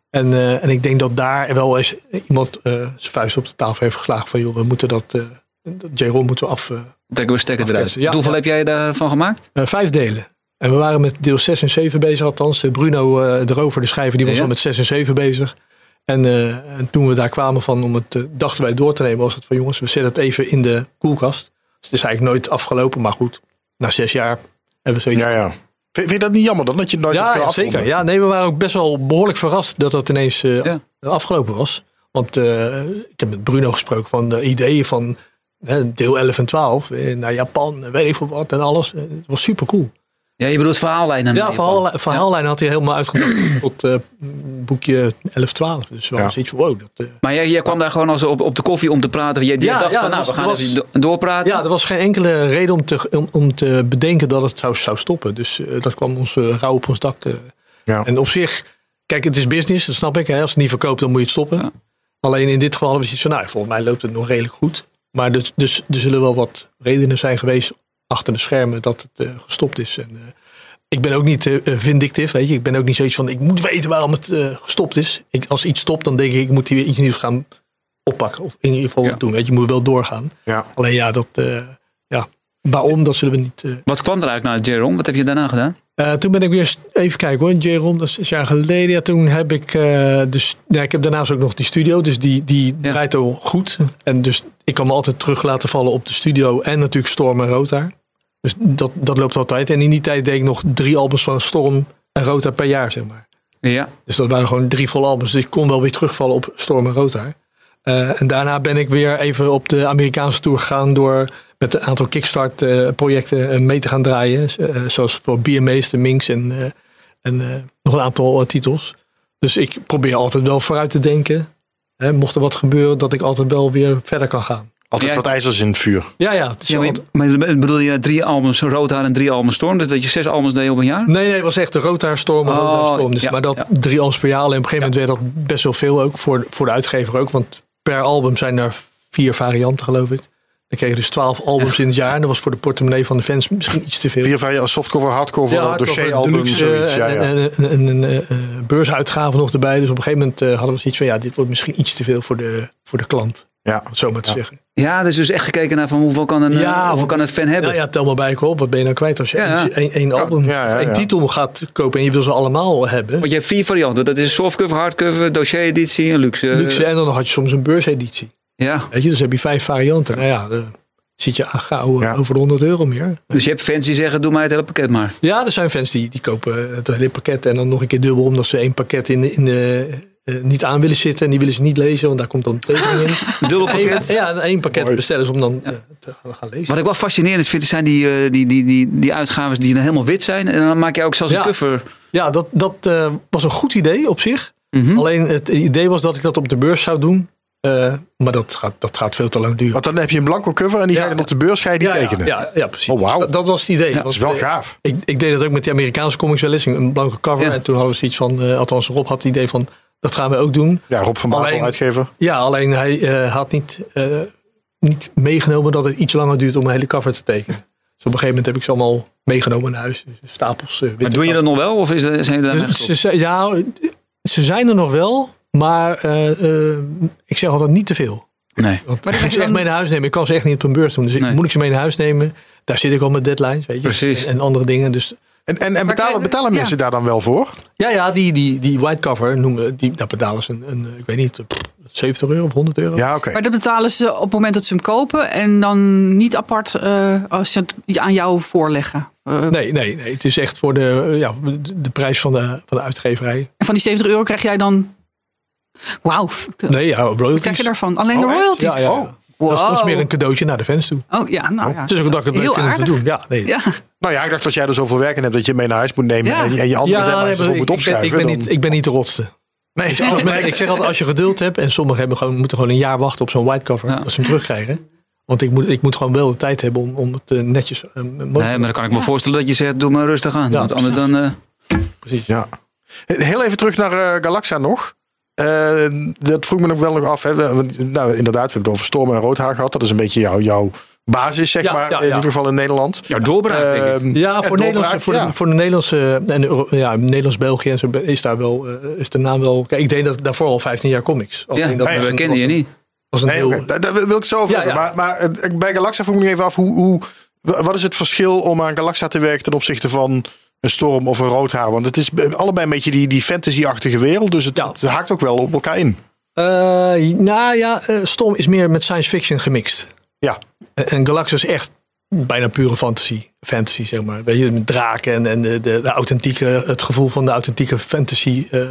B: En, eh, en ik denk dat daar wel eens iemand eh, zijn vuist op de tafel heeft geslagen van joh, we moeten dat, eh dat J-Roll moeten we af. eh,
C: Trekken we stekker eruit.
B: Afketten, ja.
C: Hoeveel heb jij daarvan gemaakt?
B: eh, vijf delen. En we waren met deel 6 en 7 bezig, althans. Eh, Bruno eh, de Rover, de schrijver, die was
C: Ja.
B: al met 6 en 7 bezig. En, eh, en toen we daar kwamen van om het, eh, dachten wij door te nemen, was het van jongens, we zetten het even in de koelkast. Dus het is eigenlijk nooit afgelopen, maar goed, na zes jaar hebben we zoiets.
A: Ja, ja. Vind, vind je dat niet jammer dan? Dat je het nooit hebt
B: Ja,
A: kunnen
B: ja, zeker.
A: afronden?
B: Ja, nee, we waren ook best wel behoorlijk verrast dat dat ineens eh,
C: Ja.
B: afgelopen was. Want eh, ik heb met Bruno gesproken van de ideeën van hè, deel 11 en 12 eh, naar Japan, weet ik veel wat en alles. Eh, Het was super cool.
C: Ja, je bedoelt verhaallijnen.
B: Ja, verhaal, verhaallijn had hij helemaal uitgedacht tot eh, boekje 11, 12. Dus wel
A: Ja.
B: zoiets van wow. Dat, eh,
C: Maar jij, jij kwam daar gewoon als op, op de koffie om te praten. Jij
B: Ja,
C: dacht
B: ja, dat
C: van, nou, we
B: was-
C: gaan
B: was-
C: even do- doorpraten.
B: ja, er was geen enkele reden om te, om, om te bedenken dat het zou, zou stoppen. Dus eh, dat kwam ons eh, rauw op ons dak. eh.
A: Ja.
B: En op zich, kijk, het is business, dat snap ik. Hè. Als het niet verkoopt, dan moet je het stoppen.
C: Ja.
B: Alleen in dit geval hadden we zoiets van, nou, volgens mij loopt het nog redelijk goed. Maar dus, dus er zullen wel wat redenen zijn geweest achter de schermen dat het eh, gestopt is. En, eh, ik ben ook niet eh, vindictief, weet je. Ik ben ook niet zoiets van, ik moet weten waarom het eh, gestopt is. Ik, als iets stopt, dan denk ik, ik moet hier iets nieuws gaan oppakken. Of in ieder geval
C: Ja.
B: doen, weet je. Je moet wel doorgaan.
A: Ja.
B: Alleen ja, dat, eh, ja, waarom, dat zullen we niet... eh.
C: Wat kwam er eigenlijk naar Jerome? Wat heb je daarna gedaan?
B: Eh, toen ben ik weer, even kijken hoor, J-Rom, dat is zes jaar geleden. Ja, toen heb ik, eh, dus, ja, ik heb daarnaast ook nog die studio, dus die, die
C: Ja.
B: draait al goed. En dus ik kan me altijd terug laten vallen op de studio en natuurlijk Storm en Rotaar. Dus dat, dat loopt altijd. En in die tijd deed ik nog drie albums van Storm en Rotaar per jaar, zeg maar.
C: Ja,
B: Dus dat waren gewoon drie volle albums. Dus ik kon wel weer terugvallen op Storm en Rotaar. Eh, en daarna ben ik weer even op de Amerikaanse tour gegaan door met een aantal Kickstart-projecten mee te gaan draaien. Eh, zoals voor BMA's, de Minx en, eh, en eh, nog een aantal eh, titels. Dus ik probeer altijd wel vooruit te denken. Hè, mocht er wat gebeuren, dat ik altijd wel weer verder kan gaan.
A: Altijd
C: Ja.
A: wat ijzers in het vuur.
B: Ja, ja. het is
C: ja maar,
B: altijd-
C: je- maar je- bedoel je drie albums Roodhaar en drie albums Storm? Dus dat je zes albums deed op een jaar?
B: Nee, nee, het was echt de Rotaarstorm.
C: Oh,
B: Rotaarstorm. Dus,
C: ja,
B: maar dat
C: ja.
B: drie albums per jaar. En op een gegeven moment werd dat best wel veel ook. Voor, voor de uitgever ook. Want per album zijn er vier varianten, geloof ik. Dan kreeg je dus twaalf albums in het jaar. En dat was voor de portemonnee van de fans misschien iets te veel.
A: Vier varianten, softcover, hardcover,
B: hardcover,
A: dossieralbum,
B: deluxe,
A: zoiets. Ja,
B: eh,
A: ja.
B: En, en, en, en, eh, eh, beursuitgaven nog erbij. Dus op een gegeven moment eh, hadden we zoiets van... ja, dit wordt misschien iets te veel voor de, voor de klant.
A: ja.
B: Om het zo maar te
A: Ja.
B: zeggen.
C: Ja, dus dus echt gekeken naar van hoeveel kan een, eh,
B: Ja,
C: hoeveel kan een fan hebben.
B: Nou ja, tel maar bij elkaar op. Wat ben je nou kwijt als je
C: Ja, ja.
B: één- één één album...
A: ja, ja,
B: één
A: ja.
B: titel gaat kopen en je wil ze allemaal hebben...
C: Want je hebt vier varianten. Dat is softcover, hardcover, dossiereditie en luxe.
B: Luxe, en dan had je soms een beurseditie.
C: Ja,
B: Weet je, dus heb je vijf varianten. Nou ja, dan zit je aan gauw eh,
A: Ja.
B: over de 100 euro meer.
C: dus je hebt fans die zeggen, doe mij het hele pakket maar.
B: Ja, er zijn fans die, die kopen eh, het hele pakket en dan nog een keer dubbel, omdat ze één pakket in, de- in de, eh, niet aan willen zitten en die willen ze niet lezen, want daar komt dan een (laughs) tekening in.
C: (laughs) Dubbel pakket.
B: Eén- ja, en één pakket
A: Mooi.
B: bestellen ze om dan eh, te gaan- gaan lezen.
C: Wat ik wel fascinerend vind, zijn die, eh, die, die, die, die uitgaves die dan helemaal wit zijn. En dan maak je ook zelfs
B: Ja.
C: een cover.
B: Ja, dat, dat eh, was een goed idee op zich.
C: Mhm.
B: Alleen het idee was dat ik dat op de beurs zou doen. Eh, maar dat gaat, dat gaat veel te lang duren.
A: Want dan heb je een blanco cover en die
B: Ja.
A: ga je dan op de beurs ga je die
B: ja,
A: tekenen.
B: Ja, ja, ja, precies.
A: Oh, wauw.
B: dat, dat was het idee.
A: Dat
B: Want,
A: is wel
B: eh,
A: gaaf.
B: Ik, ik deed dat ook met die Amerikaanse comics wel eens, een- een blanke cover.
C: Ja.
B: En toen hadden we zoiets van, eh, althans Rob had het idee van, dat gaan we ook doen.
A: Ja, Rob van Bakel
B: Alleen-
A: uitgever.
B: Ja, alleen hij eh, had niet, eh, niet meegenomen dat het iets langer duurt om een hele cover te
C: (laughs)
B: tekenen. Dus op een gegeven moment heb ik ze allemaal meegenomen naar huis. Dus Stapels. eh, witte
C: Maar doe je dat
B: cover.
C: nog wel? Of is, zijn jullie daar
B: Dus ze, ze- ja, ze zijn er nog wel, maar eh, eh, ik zeg altijd niet te veel.
C: Nee.
B: Want
D: Maar
B: ik
D: dan
B: moet
D: heb
B: ze
D: je
B: echt
D: dan-
B: mee naar huis nemen. Ik kan ze echt niet op een beurs doen. Dus ik-
C: Nee.
B: moet ik ze mee naar huis nemen? Daar zit ik al met deadlines, weet je.
C: Precies.
B: En, en andere dingen. Dus
A: En, en, en betalen,
D: krijgen-
A: betalen
D: ja.
A: mensen daar dan wel voor?
B: ja, ja, die, die, die white cover noemen, die, daar betalen ze een, een, ik weet niet, pff, 70 euro of 100 euro.
A: Ja, oké.
D: Maar dat betalen ze op het moment dat ze hem kopen. En dan niet apart eh, als ze het aan jou voorleggen. Eh,
B: Nee, nee, nee. Het is echt voor de, eh, ja, de, de prijs van de, van de uitgeverij.
D: En van die 70 euro krijg jij dan... Wauw, f-
B: Nee, ja, royalties.
D: wat krijg je daarvan? Alleen
A: Oh,
D: de
A: echt?
D: royalties?
B: Ja, ja.
A: Oh.
B: Dat, is, dat is
D: Wow.
B: meer een cadeautje naar de fans toe.
D: Oh ja, nou ja.
B: het is ook dat ik het leuk
D: Heel
B: vind om te
D: aardig.
B: doen. Ja, nee.
D: Ja,
A: Nou ja, ik dacht dat jij er zoveel werk in hebt dat je mee naar huis moet nemen
D: Ja.
A: en, en je andere
B: Ja, nee,
A: deadlines
B: maar
A: ervoor
B: ik,
A: moet
B: ik, ben,
A: opschrijven.
B: ik, ben
A: dan-
B: niet, ik ben niet de rotste.
A: nee,
B: Als men- ik zeg altijd, als je geduld hebt, en sommigen hebben gewoon, moeten gewoon een jaar wachten op zo'n white cover,
C: Ja.
B: dat ze hem terugkrijgen. Want ik moet, ik moet gewoon wel de tijd hebben om, om het eh, netjes eh, mooi te
C: nee, maar dan kan ik me voorstellen dat je zegt, doe maar rustig aan.
B: Ja,
C: want anders dan... eh,
B: precies.
A: Ja. Heel even terug naar eh, Galaxa nog. Eh, dat vroeg me nog wel nog af. Hè. We- want, Nou, inderdaad, we hebben het over Storm en Roodhaar gehad. Dat is een beetje jouw, jouw basis, zeg
B: Ja,
A: maar.
B: ja,
A: In
B: ja.
A: ieder geval in Nederland.
C: Jouw doorbraak, denk ik.
A: Ehm,
B: Ja,
A: en
B: voor, Nederlandse,
A: doorbraak,
B: voor,
A: ja.
B: De, voor de Nederlandse en de Euro- ja, Nederlands-België en zo be- is daar wel eh, is de naam wel. Kijk, ik deed dat daarvoor al 15 jaar comics. Alleen
C: Ja,
B: dat
C: maar
B: was
C: we
B: een-
C: kenden je
B: was een-
C: niet.
B: Was een
A: Nee,
B: heel,
A: oké, daar, daar wil ik zo over
B: Ja,
A: hebben.
B: ja.
A: Maar, maar eh, bij Galaxa vroeg ik me nog even af. Hoe, hoe, wa- wat is het verschil om aan Galaxa te werken ten opzichte van een Storm of een Roodhaar? Want het is be- allebei een beetje die, die fantasy-achtige wereld. Dus het,
B: Ja.
A: het haakt ook wel op elkaar in.
B: Eh, nou ja, eh, Storm is meer met science fiction gemixt.
A: Ja,
B: En, en Galaxus is echt bijna pure fantasy. Fantasy, zeg maar. Weet je, met draken en, en de, de, de authentieke, het gevoel van de authentieke fantasy eh,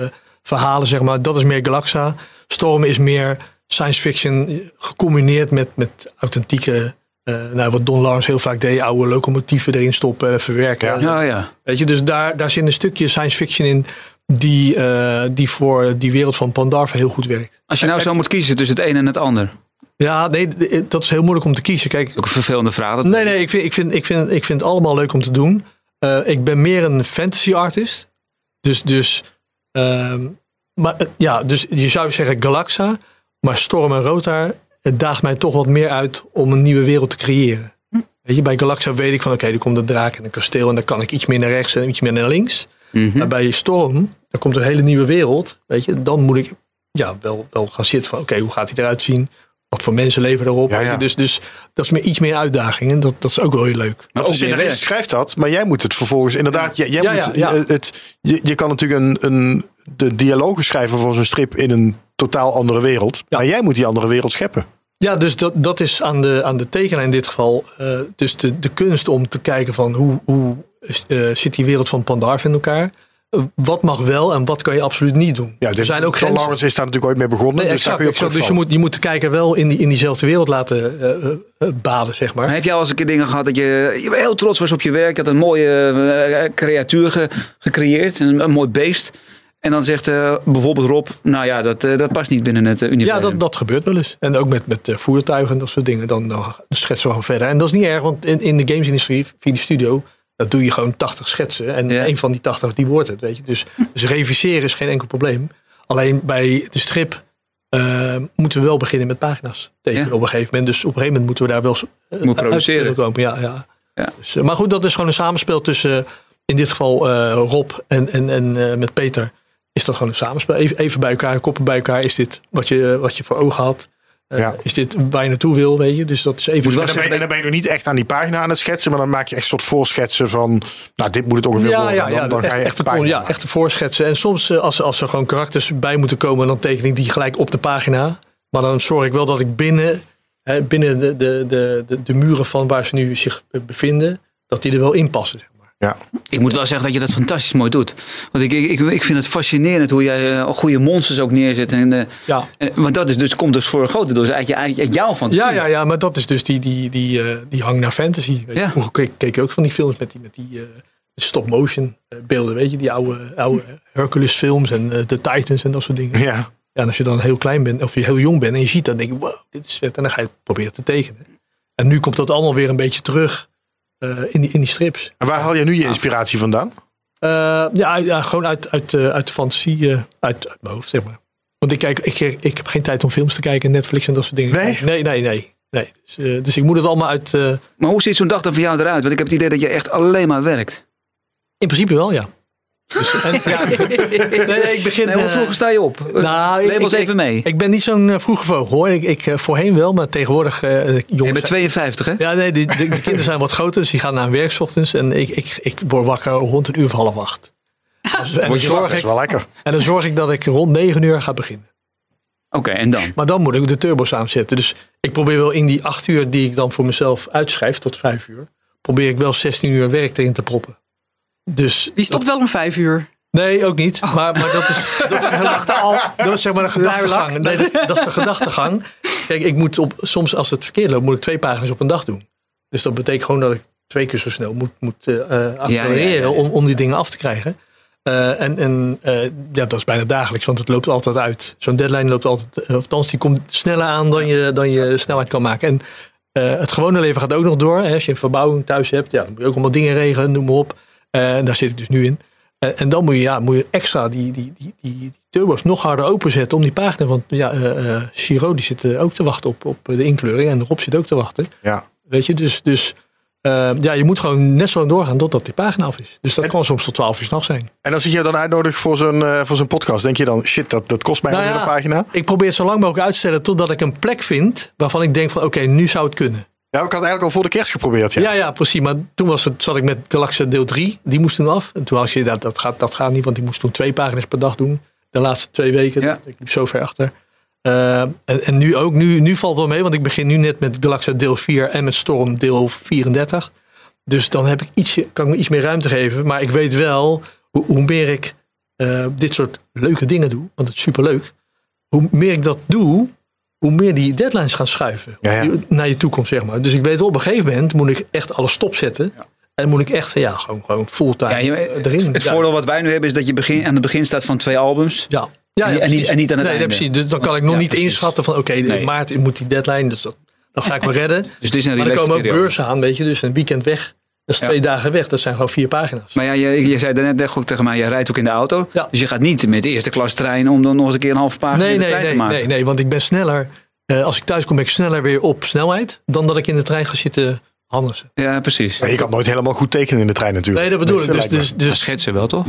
B: verhalen, zeg maar. Dat is meer Galaxa. Storm is meer science fiction gecombineerd met, met authentieke, eh, nou, wat Don Lawrence heel vaak deed, oude locomotieven erin stoppen, verwerken.
A: Ja.
C: Ja, Nou ja.
B: Weet je, dus daar, daar zit een stukje science fiction in die, eh, die voor die wereld van Pandarva heel goed werkt.
C: Als je nou zo moet kiezen tussen het een en het ander.
B: Ja, nee, d- eh, dat is heel moeilijk om te kiezen. Kijk,
C: Ook een vervelende vraag. dat-
B: Nee, nee, ik vind, ik vind, ik vind, ik vind het allemaal leuk om te doen. Eh, ik ben meer een fantasy artist. Dus, dus, ehm, maar, eh, ja, dus je zou zeggen Galaxa, maar Storm en Rotar, het daagt mij toch wat meer uit om een nieuwe wereld te creëren. Weet je, bij Galaxa weet ik van oké, er komt een draak en een kasteel en dan kan ik iets meer naar rechts en iets meer naar links.
C: Mhm.
B: Maar bij Storm, er komt een hele nieuwe wereld. Weet je, dan moet ik ja, wel, wel gaan zitten van oké, hoe gaat hij eruit zien? Wat voor mensen leven erop?
A: Ja,
B: Weet je,
A: ja.
B: Dus, dus dat is meer, iets meer uitdaging en dat, dat is ook wel heel leuk.
C: Maar
A: de
C: ook meer
A: scenarist
C: werk.
A: schrijft dat, maar jij moet het vervolgens inderdaad. Jij, jij
B: Ja,
A: moet,
B: ja, ja.
A: eh, Het, je, je kan natuurlijk een, een, de dialogen schrijven voor zo'n strip in een totaal andere wereld.
B: Ja.
A: Maar jij moet die andere wereld scheppen.
B: Ja, dus dat, dat is aan de, aan de tekenaar in dit geval. eh, dus de, de kunst om te kijken van hoe, hoe eh, zit die wereld van Pandarf in elkaar? Eh, wat mag wel en wat kan je absoluut niet doen?
A: Ja,
B: er zijn ook
A: John
B: grenzen.
A: Lawrence is daar natuurlijk ooit mee begonnen.
B: Nee,
A: dus daar
B: exact,
A: kun je op
B: exact. dus je
A: terugvallen.
B: moet, je moet de kijker wel in, die, in diezelfde wereld laten eh, eh, eh, baden, zeg maar.
C: Maar heb jij al eens een keer dingen gehad dat je, je heel trots was op je werk? Je had een mooie eh, creatuur ge- gecreëerd, een, een mooi beest. En dan zegt eh, bijvoorbeeld Rob, nou ja, dat, eh, dat past niet binnen het eh,
B: Ja,
C: universum.
B: dat, dat gebeurt wel eens. En ook met, met eh, voertuigen en dat soort dingen. Dan, dan schetsen we gewoon verder. En dat is niet erg, want in, in de gamesindustrie, via de studio, dat doe je gewoon 80 schetsen. En
C: Ja.
B: een van die 80 die wordt het, weet je. Dus, dus reviseren is geen enkel probleem. Alleen bij de strip eh, moeten we wel beginnen met pagina's tekenen
C: Ja.
B: op een gegeven moment. Dus op een gegeven moment moeten we daar wel... Uh,
C: Moet produceren.
B: Komen. Ja, ja.
C: Ja.
B: Dus, eh, maar goed, dat is gewoon een samenspel tussen, in dit geval eh, Rob en, en, en eh, met Peter is dat gewoon een samenspel. Even, even bij elkaar, koppen bij elkaar. Is dit wat je, wat je voor ogen had? Eh,
A: Ja.
B: Is dit waar je naartoe wil, weet je? Dus dat is even...
C: Moet wel
A: En dan, ben je,
C: zeggen
A: dan ben je nog niet echt aan die pagina aan het schetsen, maar dan maak je echt een soort voorschetsen van. Nou, dit moet het ongeveer
B: ja,
A: worden.
B: ja,
A: dan,
B: ja,
A: dan
B: echt,
A: ga je
B: echt,
A: echt
B: de kon-
A: pagina
B: ja,
A: maken.
B: echt de voorschetsen. En soms, eh, als, als er gewoon karakters bij moeten komen, dan teken ik die gelijk op de pagina. Maar dan zorg ik wel dat ik binnen, hè, binnen de, de, de, de, de muren van waar ze nu zich eh, bevinden, dat die er wel in passen. Zeg maar.
A: Ja.
C: Ik moet wel zeggen dat je dat fantastisch mooi doet. Want ik, ik, ik vind het fascinerend hoe jij eh, goede monsters ook neerzet. En, eh,
B: Ja.
C: eh, want dat is dus, komt dus voor een grote deel uit, je- uit, uit jouw fantasie.
B: Ja, ja, ja, maar dat is dus die, die, die, eh, die hang naar fantasy. Weet je.
C: Ja.
B: Vroeger keek, keek je ook van die films met die, met die eh, stop-motion eh, beelden. Weet je, die oude, oude Hercules films en eh, de Titans en dat soort dingen.
A: Ja.
B: Ja, en als je dan heel klein bent, of je heel jong bent en je ziet dat, dan denk je, wow, dit is vet. En dan ga je het proberen te tekenen. En nu komt dat allemaal weer een beetje terug eh, in, die, in die strips.
A: En waar haal jij nu je inspiratie vandaan?
B: Eh, ja, uit- ja, gewoon uit, uit, eh, uit de fantasie, eh, uit, uit mijn hoofd, zeg maar. Want ik, kijk, ik, ik heb geen tijd om films te kijken, Netflix en dat soort dingen.
A: Nee?
B: Nee, nee, nee. nee. Dus, eh, dus ik moet het allemaal uit... eh,
C: Maar hoe ziet zo'n dag dan voor jou eruit? Want ik heb het idee dat je echt alleen maar werkt.
B: in principe wel, ja.
A: (laughs)
B: Dus, en, ja nee, nee, ik begin...
C: Nee, hoe
B: eh,
C: vroeg sta je op?
B: nou,
C: Neem
B: ik-
C: ons
B: ik-
C: even mee.
B: Ik ben niet zo'n eh, vroege vogel hoor. Ik, ik, eh, voorheen wel, maar tegenwoordig eh jongens.
C: Je bent 52, hè?
B: Ja, nee, de, de, de kinderen zijn wat groter, dus die gaan naar hun werk 's ochtends. En ik, ik, ik word wakker rond een uur of half
A: (laughs)
B: acht. Dus- En dan,
A: Word je wakker,
B: zorg
A: is
B: ik,
A: wel lekker.
B: en dan zorg ik dat ik rond negen uur ga beginnen.
C: Oké, en dan?
B: Maar dan moet ik de turbo's aanzetten. Dus ik probeer wel in die acht uur die ik dan voor mezelf uitschrijf, tot vijf uur, probeer ik wel 16 uur werk erin te proppen. Dus
D: Die stopt wel om vijf uur.
B: Nee, ook niet.
C: Oh.
B: Maar, maar dat
C: (laughs)
B: is, dat is, heel- dat is zeg maar de gedachtegang. Nee, dat, dat is de gedachtegang. Kijk, ik moet op, soms als het verkeerd loopt, moet ik twee pagina's op een dag doen. Dus dat betekent gewoon dat ik twee keer zo snel moet, moet eh, eh, accelereren
C: Ja, ja, ja, ja.
B: Om, om die dingen af te krijgen. Eh, en en eh, ja, dat is bijna dagelijks, want het loopt altijd uit. Zo'n deadline loopt altijd, eh, of althans, die komt sneller aan dan je, dan je snelheid kan maken. En eh, het gewone leven gaat ook nog door. Hè. Als je een verbouwing thuis hebt, ja, dan moet je ook allemaal dingen regelen, noem maar op. Eh, en daar zit ik dus nu in. Eh, en dan moet je, ja, moet je extra die, die, die, die, die turbo's nog harder openzetten om die pagina. Want ja, eh eh, Giro die zit eh, ook te wachten op, op de inkleuring. En Rob zit ook te wachten.
A: Ja.
B: Weet je, dus, dus eh, ja, je moet gewoon net zo lang doorgaan totdat die pagina af is. Dus dat kan soms tot 12 uur s'nachts zijn.
A: En als ik je dan uitnodig voor zo'n eh, voor zo'n podcast, denk je dan, shit, dat, dat kost mij
B: Nou
A: weer
B: ja.
A: een pagina?
B: Ik probeer het zo lang mogelijk uit te stellen totdat ik een plek vind waarvan ik denk van oké, nu zou het kunnen.
A: Ja, ik had eigenlijk al voor de kerst geprobeerd. Ja.
B: Ja, ja, precies. Maar toen was het, zat ik met Galaxia deel 3. Die moest toen af. En toen had je dat, dat, gaat, dat gaat niet, want die moest toen twee pagina's per dag doen. De laatste twee weken.
C: Ja.
B: Ik liep zo ver achter. Eh, en, en nu ook. Nu, nu valt het wel mee, want ik begin nu net met Galaxia deel 4 en met Storm deel 34. Dus dan heb ik ietsje, kan ik me iets meer ruimte geven. Maar ik weet wel, hoe, hoe meer ik eh, dit soort leuke dingen doe, want het is superleuk. Hoe meer ik dat doe, hoe meer die deadlines gaan schuiven
A: Ja, ja.
B: Je- naar je toekomst, zeg maar. Dus ik weet wel, op een gegeven moment moet ik echt alles stopzetten. En moet ik echt, ja, gewoon, gewoon fulltime
C: Ja, je-
B: eh,
C: het,
B: erin.
C: het
B: Ja.
C: voordeel wat wij nu hebben is dat je begin, aan het begin staat van twee albums. Dus
B: Ja. Ja,
C: En niet- en
B: precies.
C: niet- en niet aan het
B: nee, nee,
C: einde.
B: precies. Dus dan kan ik nog
C: Ja,
B: niet
C: precies.
B: inschatten van, oké, in
C: Nee.
B: maart moet die deadline, dus dat, dan ga ik me
C: (laughs)
B: redden.
C: Dus het is een
B: maar er komen ook
C: relaxperiode.
B: beurzen aan, weet je. Dus een weekend weg, dat is
C: Ja.
B: twee dagen weg. Dat zijn gewoon vier pagina's.
C: Maar ja, je, je zei daarnet echt goed tegen mij, je rijdt ook in de auto.
B: Ja.
C: Dus je gaat niet met de eerste klas trein om dan nog eens een keer een halve pagina
B: Nee,
C: in de
B: nee,
C: trein
B: nee,
C: te maken.
B: nee, nee, want ik ben sneller. eh, als ik thuis kom, ben ik sneller weer op snelheid dan dat ik in de trein ga zitten handelen.
C: Ja, precies.
A: Maar je kan nooit helemaal goed tekenen in de trein natuurlijk.
B: Nee, dat bedoel
A: Dus,
B: ik. Dus,
A: lijkt me.
B: dus,
C: Dus
B: dus
C: schetsen wel, toch?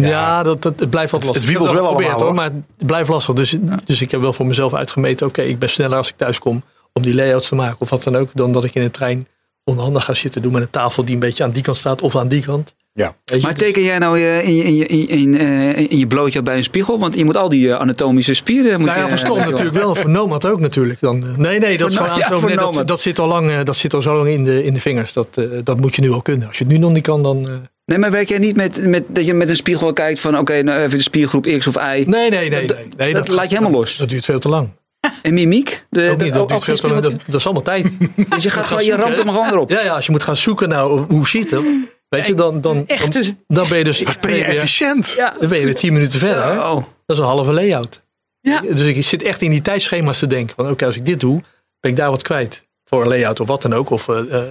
B: ja, dat, dat, het blijft wat
A: Het-
B: lastig.
A: het wiebelt
B: Ik heb
A: wel
B: geprobeerd,
A: allemaal,
B: hoor, maar het blijft lastig. Dus, dus ik heb wel voor mezelf uitgemeten: oké, ik ben sneller als ik thuis kom om die layouts te maken of wat dan ook, dan dat ik in de trein onhandig ga zitten doen met een tafel die een beetje aan die kant staat of aan die kant.
A: ja.
B: Weet je,
C: Maar
B: dus-
C: teken jij nou eh, in, je- in, je- in, in, eh, in je blootje bij een spiegel? Want je moet al die eh, anatomische spieren... Moet
B: Nou ja,
C: je,
B: voor Storm
C: eh,
B: natuurlijk wel. Voor Nomad ook natuurlijk. Dan, eh, nee, nee, dat, is
C: Voor
B: gewoon
C: No-
B: aankomen.
C: ja,
B: Nee,
C: voor
B: dat,
C: Nomad.
B: dat, zit al lang, eh, dat zit al zo lang in de, in de vingers. Dat, eh, dat moet je nu al kunnen. Als je het nu nog niet kan, dan... eh,
C: Nee, maar werk jij niet met, met dat je met een spiegel kijkt van... Oké, nou even de spiergroep X of Y.
B: nee, nee, nee. nee,
C: dat-
B: nee,
C: dat laat je helemaal Eh, los.
B: Dat duurt veel te lang.
C: En mimiek? De,
B: Ook
C: de-
B: niet, dat,
C: ook
B: duurt
C: geen
B: veel te lang. Dat,
C: spiegeltje?
B: dat is allemaal tijd.
C: (laughs) Dus je gaat
B: gaan
C: gewoon, je
B: zoeken,
C: ramt
B: hè?
C: hem gewoon erop.
B: ja, ja, als je moet gaan zoeken naar nou, hoe ziet dat, weet je, dan, dan, dan,
D: Echte-
B: dan ben je
C: (laughs)
B: dus...
A: Wat ben je efficiënt?
B: ja, dan ben je weer tien minuten verder. hè.
C: Oh.
B: Dat is een halve layout.
D: Ja.
B: Dus ik zit echt in die tijdschema's te denken. Van oké, als ik dit doe, ben ik daar wat kwijt. Voor een layout of wat dan ook. Of, eh, eh,